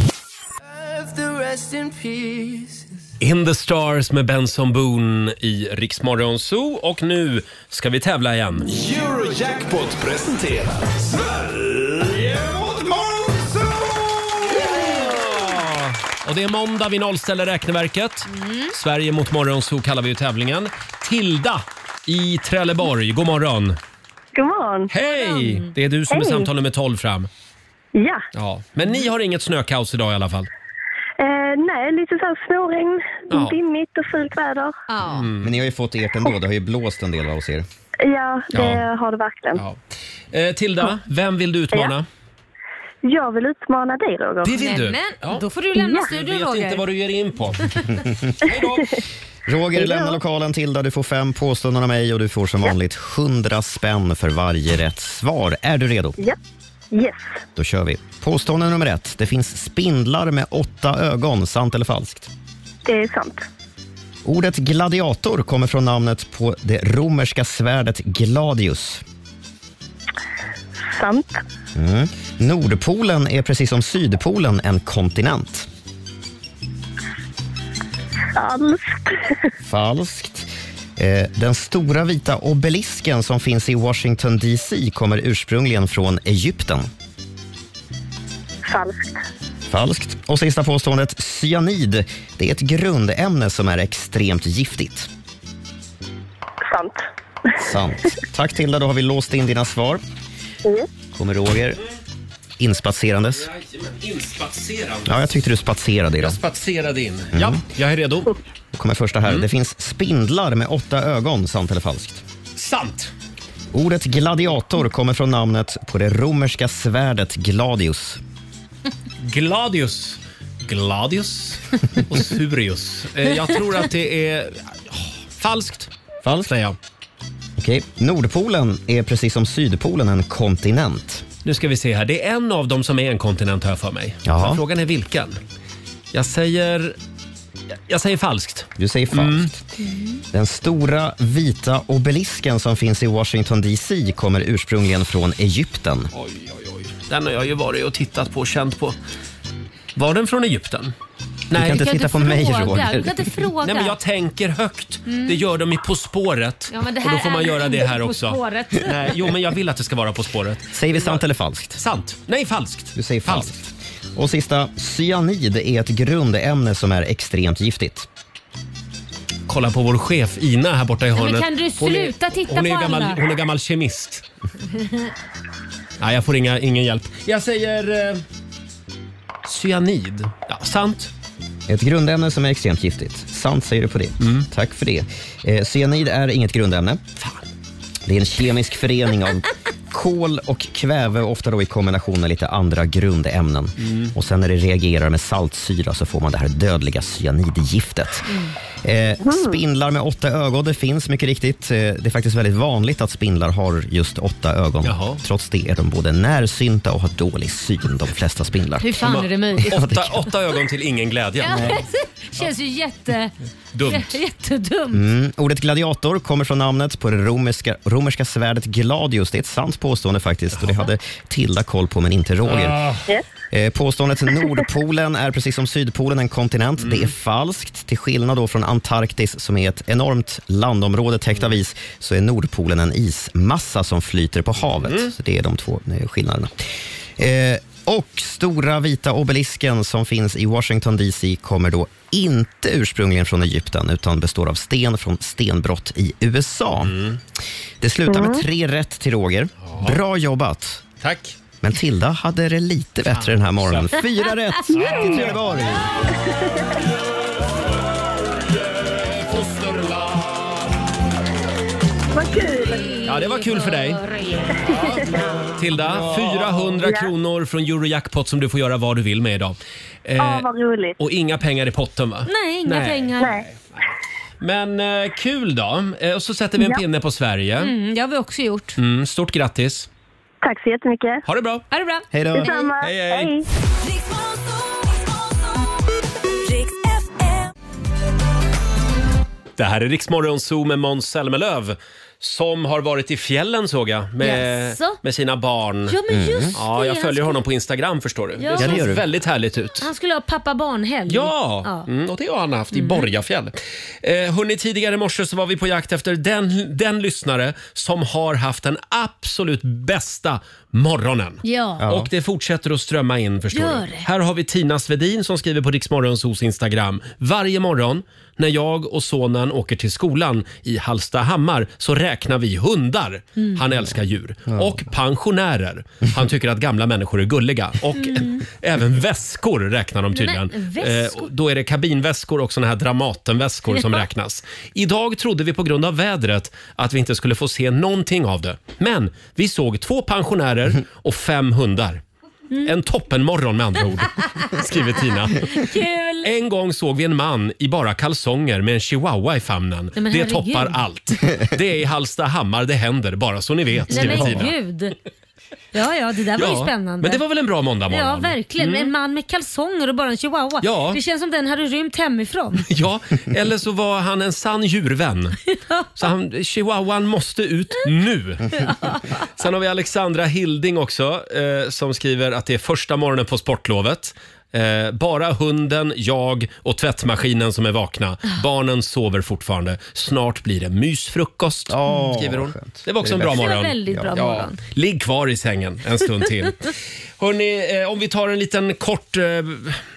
In the stars med Benson Boone i Riksmorgonzoo. Och nu ska vi tävla igen. Eurojackpot presenterar Sverige mot Monzo! Och det är måndag vi nollställer räkneverket. Mm. Sverige mot Morgonzoo kallar vi ju tävlingen. Tilda i Trelleborg, god morgon. God morgon. Hej! Det är du som är Hej. samtal nummer 12 fram. Ja, Ja. Men ni har inget snökaos idag i alla fall? eh, nej, lite så här snöregn, Ja. dimmigt och fult väder. Men ni har ju fått ert ändå, det har ju blåst en del av hos er. Ja, det Ja. har det verkligen. Eh, Tilda, vem vill du utmana? Jag vill utmana dig, Roger. Det vill du? då får du lämna Jag studion vet inte Roger. vad du ger in på. Roger, lämna lokalen Tilda. Du får fem påståenden av mig och du får som vanligt 100 spänn för varje rätt svar. Är du redo? Ja. Yes. Då kör vi. Påstående nummer ett. Det finns spindlar med åtta ögon. Sant eller falskt? Det är sant. Ordet gladiator kommer från namnet på det romerska svärdet gladius. Sant. Mm. Nordpolen är precis som Sydpolen en kontinent. Falskt. Falskt. Eh, Den stora vita obelisken som finns i Washington DC kommer ursprungligen från Egypten. Falskt. Falskt. Och sista påståendet, cyanid. Det är ett grundämne som är extremt giftigt. Sant. Sant. Tack Tilda, då har vi låst in dina svar. Yes. Kommer Roger inspatserandes? Inspatserande. Ja, jag tyckte du spatserade idag. Jag spatserade in. Mm. Ja, jag är redo. Då kommer första här. Det finns spindlar med åtta ögon, sant eller falskt? Sant. Ordet gladiator kommer från namnet på det romerska svärdet gladius. Gladius. Gladius och Surius. Eh, Jag tror att det är åh, falskt. Falskt? Säger jag. Okej. Nordpolen är precis som Sydpolen en kontinent. Nu ska vi se här. Det är en av dem som är en kontinent har jag för mig. Jaha. Men Frågan är vilken. Jag säger... Jag säger falskt. Du säger falskt. Den stora vita obelisken som finns i Washington DC kommer ursprungligen från Egypten. Den har jag ju varit och tittat på och känt på. Var den från Egypten? Du kan inte titta på mig, Roger. Du kan inte fråga. Nej, men jag tänker högt. Mm. Det gör de i På spåret. Ja, men det och då här får man är göra det inte här På också. spåret. Nej, jo, men jag vill att det ska vara På spåret. Säger vi sant eller falskt? Sant. Nej, falskt. Du säger falskt. Och sista, cyanid är ett grundämne som är extremt giftigt. Kolla på vår chef Ina här borta i men hörnet. kan du sluta titta hon är på gammal, alla? Hon är gammal kemist. Nej, jag får inga, ingen hjälp. Jag säger eh, cyanid. Ja, sant. Ett grundämne som är extremt giftigt. Sant säger du på det. Tack för det. Eh, cyanid är inget grundämne. Det är en kemisk förening av kol och kväve, ofta då i kombination med lite andra grundämnen. Mm. Och sen när det reagerar med saltsyra så får man det här dödliga cyanidgiftet. Eh, spindlar med åtta ögon, det finns mycket riktigt. Eh, det är faktiskt väldigt vanligt att spindlar har just åtta ögon. Trots det är de både närsynta och har dålig syn, de flesta spindlar. Hur fan är det möjligt? Åtta, åtta ögon till ingen glädje. Ja, känns ju jätte... Dumt. Jättedumt. Mm. Ordet gladiator kommer från namnet på det romerska, romerska svärdet gladius. Det är ett sant påstående faktiskt och det hade Tilda koll på men inte Roger. Eh, Påståendet Nordpolen är precis som Sydpolen en kontinent. Det är falskt. Till skillnad då från Antarktis som är ett enormt landområde täckt av is så är Nordpolen en ismassa som flyter på havet. Så det är de två eh, skillnaderna. Eh, och stora vita obelisken som finns i Washington DC kommer då inte ursprungligen från Egypten utan består av sten från stenbrott i USA. Mm. Det slutar med Mm. tre rätt till Roger. Bra jobbat! Tack! Men Tilda hade det lite bättre den här morgonen. Fyra rätt Mm. till Trelleborg! Vad kul! Ja, det var kul för dig. Tilda, Ja. 400 Ja. kronor från Eurojackpot som du får göra vad du vill med idag. Eh, Ja, vad roligt. och inga pengar i potten va? Nej, inga pengar. Nej. Men eh, kul då. Eh, och så sätter vi en Ja. pinne på Sverige. Mm. Mm, det har vi också gjort. stort grattis. Tack så jättemycket. Ha det bra. Ha det bra. Hej då. Detsamma. Hej, hej. Det här är Riksmorgon Zoo med Måns Zelmerlöw som har varit i fjällen såg jag med, Jaså? med sina barn. Ja, men just Mm. det, ja, jag han följer skulle- honom på Instagram förstår du. Ja. Det Ja, det ser gör du. väldigt härligt ut. Han skulle ha pappa-barn-helg. Ja, Mm, och det har han haft i Borgafjäll. Eh, hörni, tidigare i morse så var vi på jakt efter den, den lyssnare som har haft den absolut bästa morgonen. Ja. Ja. Och det fortsätter att strömma in förstår Gör du. det. Här har vi Tina Svedin som skriver på Riksmorgonsos Instagram. Varje morgon när jag och sonen åker till skolan i Hallstahammar så räknar vi hundar. Mm. Han älskar djur. Och pensionärer. Han tycker att gamla människor är gulliga. Och Mm. även väskor räknar de tydligen. Men väskor? Eh, och då är det kabinväskor och såna här Dramatenväskor som Ja. räknas. Idag trodde vi på grund av vädret att vi inte skulle få se någonting av det. Men vi såg två pensionärer och fem hundar. Mm. En toppenmorgon med andra ord, skriver Tina. Kul! En gång såg vi en man i bara kalsonger med en chihuahua i famnen. Nej, men det herregud. toppar allt. Det är i Hallstahammar det händer, bara så ni vet, Nej skriver men Tina. gud. Ja, ja, det där var ju spännande. Men det var väl en bra måndagmorgon? Ja, verkligen. Mm. En man med kalsonger och bara en chihuahua. Ja. Det känns som den hade rymt hemifrån. Ja, eller så var han en sann djurvän. Så han, chihuahuan måste ut nu. Sen har vi Alexandra Hilding också eh, som skriver att det är första morgonen på sportlovet. Eh, bara hunden, jag och tvättmaskinen som är vakna. Barnen sover fortfarande. Snart blir det mysfrukost, Åh, Mm, skriver hon. skönt. Det var också Det är en bra bäst. morgon. Det var väldigt bra morgon. Ligg kvar i sängen en stund till. Hörrni, eh, om vi tar en liten kort eh,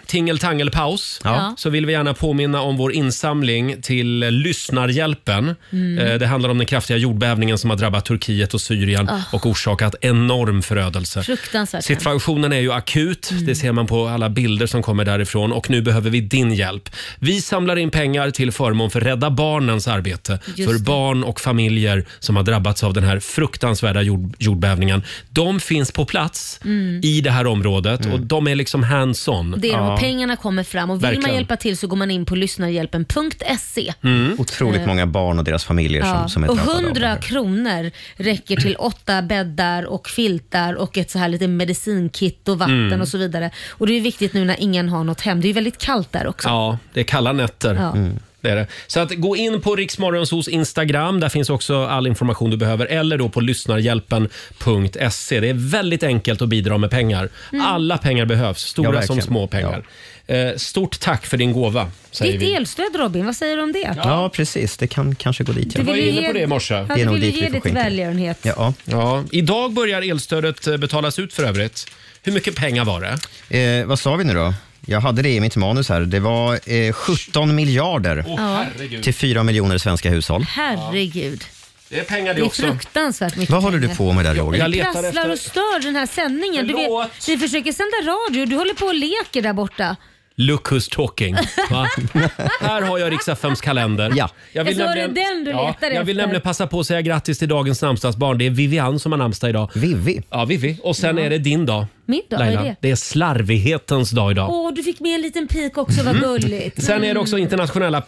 tingeltangelpaus Ja. så vill vi gärna påminna om vår insamling till eh, Lyssnarhjälpen. Mm. Eh, det handlar om den kraftiga jordbävningen som har drabbat Turkiet och Syrien Ah. och orsakat enorm förödelse. Fruktansvärt. Situationen är ju akut. Mm. Det ser man på alla bilder som kommer därifrån och nu behöver vi din hjälp. Vi samlar in pengar till förmån för Rädda Barnens arbete Just för det. barn och familjer som har drabbats av den här fruktansvärda jord, jordbävningen. De finns på plats Mm. i det här området och de är liksom hands-on. Det är de och pengarna kommer fram och vill Verkligen. man hjälpa till så går man in på lyssnarhjälpen.se. Mm. Otroligt Eh. många barn och deras familjer som, som är och drabbade av 100 kronor räcker till åtta bäddar och filtar och ett så här litet medicinkit och vatten Mm. och så vidare. Och det är ju viktigt nu när ingen har något hem. Det är ju väldigt kallt där också. Ja, det är kalla nätter. Ja. Mm. det är det. Så att gå in på Riksmorgonsos Instagram. Där finns också all information du behöver. Eller då på lyssnarhjälpen.se. Det är väldigt enkelt att bidra med pengar. Mm. Alla pengar behövs, Ja, stora verkligen. som små pengar. Eh, Stort tack för din gåva, säger Ditt vi. elstöd Robin, vad säger du om det? Ja, precis. Det kan kanske gå dit. Du ville ju ge- Ja, Det är du nog ville dit ge vi får det till skänka. välgörenhet. Ja. ja. Idag börjar elstödet eh, betalas ut för övrigt. Hur mycket pengar var det? Eh, vad sa vi nu då? Jag hade det i mitt manus här. Det var eh, 17 miljarder Åh, herregud. till 4 miljoner svenska hushåll. Herregud. Det är pengar Det är fruktanskt mycket Vad håller du pengar. på med där Roger? Du prasslar och stör den här sändningen. Du vet, vi försöker sända radio och du håller på och leker där borta. Look who's talking. Va? Här har jag riks FMs kalender. Ja. Så var det den du ja, letade Jag vill efter? nämligen passa på att säga grattis till dagens namnsdagsbarn. Det är Vivian som har namnsdag idag. Vivi? Ja, Vivi. Och sen är det din dag. Min dag, vad är Laila. det? är slarvighetens dag idag. Åh, du fick med en liten pik också, vad Mm. gulligt. Sen är det Mm. också internationella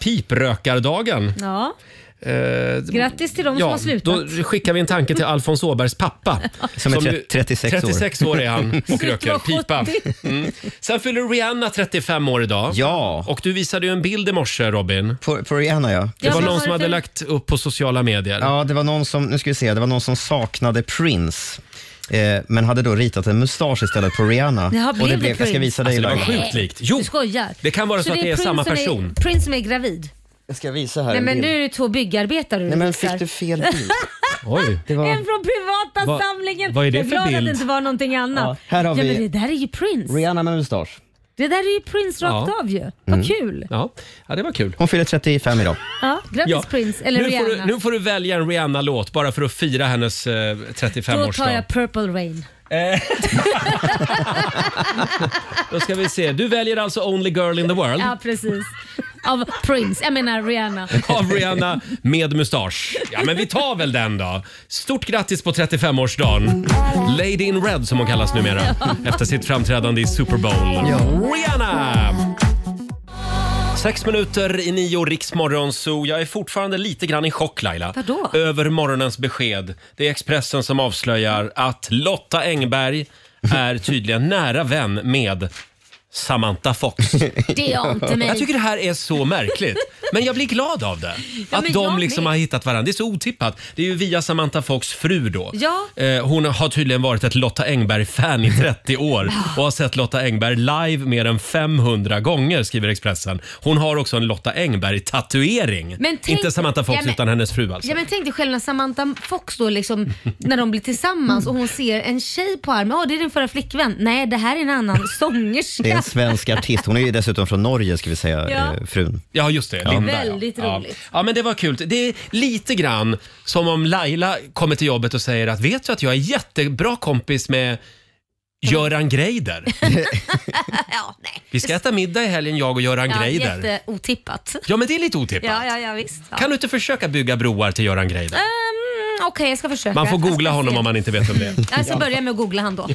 piprökardagen. Ja, Eh, grattis till dem som ja, har slutat. Då skickar vi en tanke till Alfons Åbergs pappa. Som är tre- ju- 36 år. 36 år är han och Sluta Typ röker vara pipa. 70. Mm. Sen fyller Rihanna 35 år idag. Ja. Och du visade ju en bild i morse Robin. På, på Rihanna ja. Det Ja, var vad någon var som det hade för- lagt upp på sociala medier. Ja, det var någon som, nu ska vi se, det var någon som saknade Prince. Eh, men hade då ritat en mustasch istället på Rihanna. Jaha, och blev det jag ska Prince? visa dig Alltså, det var Laila. sjukt likt. Du skojar. det kan vara så att det är Prince samma som person. Är, Prince som är gravid. Jag ska visa här Nej en men bild. nu är det två byggarbetare Nej, men fixar. fick du fel bild? Oj. Det var- En från privata Vad- samlingen. vad är det jag för glad att bild? det inte var någonting annat. Ja, här har ja, vi- men det där är ju Prince. Rihanna med mustasch. Det där är ju Prince rakt Ja. av ju. Vad Mm. kul. Ja. ja, det var kul. Hon fyller 35 idag. Ja, grattis Ja. Prince eller nu, får Rihanna. du, nu får du välja en Rihanna-låt bara för att fira hennes eh, Då 35-årsdag. tar jag Purple Rain. Då ska vi se. Du väljer alltså Only Girl in the World Ja, precis. Av Prince. Jag menar Rihanna. av Rihanna med mustasch. Ja, men vi tar väl den då. Stort grattis på 35-årsdagen. Lady in Red som hon kallas numera efter sitt framträdande i Super Bowl. Rihanna! Sex minuter i nio, Riksmorgon Zoo. Jag är fortfarande lite grann i chock, Laila. Vadå? Över morgonens besked. Det är Expressen som avslöjar att Lotta Engberg är tydligen nära vän med Samantha Fox. Det är inte mig. Jag tycker det här är så märkligt. Men jag blir glad av det. Ja, att men de jag liksom med. har hittat varandra. Det är så otippat. Det är ju via Samantha Fox fru då. Ja. Eh, Hon har tydligen varit ett Lotta Engberg-fan i 30 år och har sett Lotta Engberg live mer än 500 gånger, skriver Expressen. Hon har också en Lotta Engberg-tatuering. Men tänk- Inte Samantha Fox Ja, men- utan hennes fru alltså. Ja, men tänk dig själv när Samantha Fox då liksom, när de blir tillsammans och hon ser en tjej på armen. Åh, det är din förra flickvän. Nej, det här är en annan sångerska. Det är en svensk artist. Hon är ju dessutom från Norge ska vi säga, Ja. eh, frun. Ja, just det. Linda, Väldigt ja. roligt. Ja. ja, men det var kul. Det är lite grann som om Laila kommer till jobbet och säger att vet du att jag är jättebra kompis med Göran Greider. Vi ska äta middag i helgen jag och Göran ja, Greider. jätteotippat. Ja, men det är lite otippat. Ja, ja, ja visst. Ja. Kan du inte försöka bygga broar till Göran Greider? Mm, Okej, jag ska försöka. Man får Jag ska googla honom se. om man inte vet om det är. Jag ska börja med att googla han då.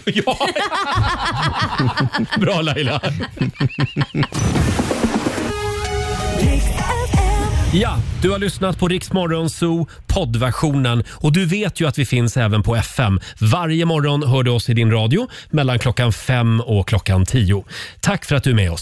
Bra Laila! Ja, du har lyssnat på Rix Morgon Zoo poddversionen och du vet ju att vi finns även på FM. Varje morgon hör du oss i din radio mellan klockan fem och klockan tio. Tack för att du är med oss.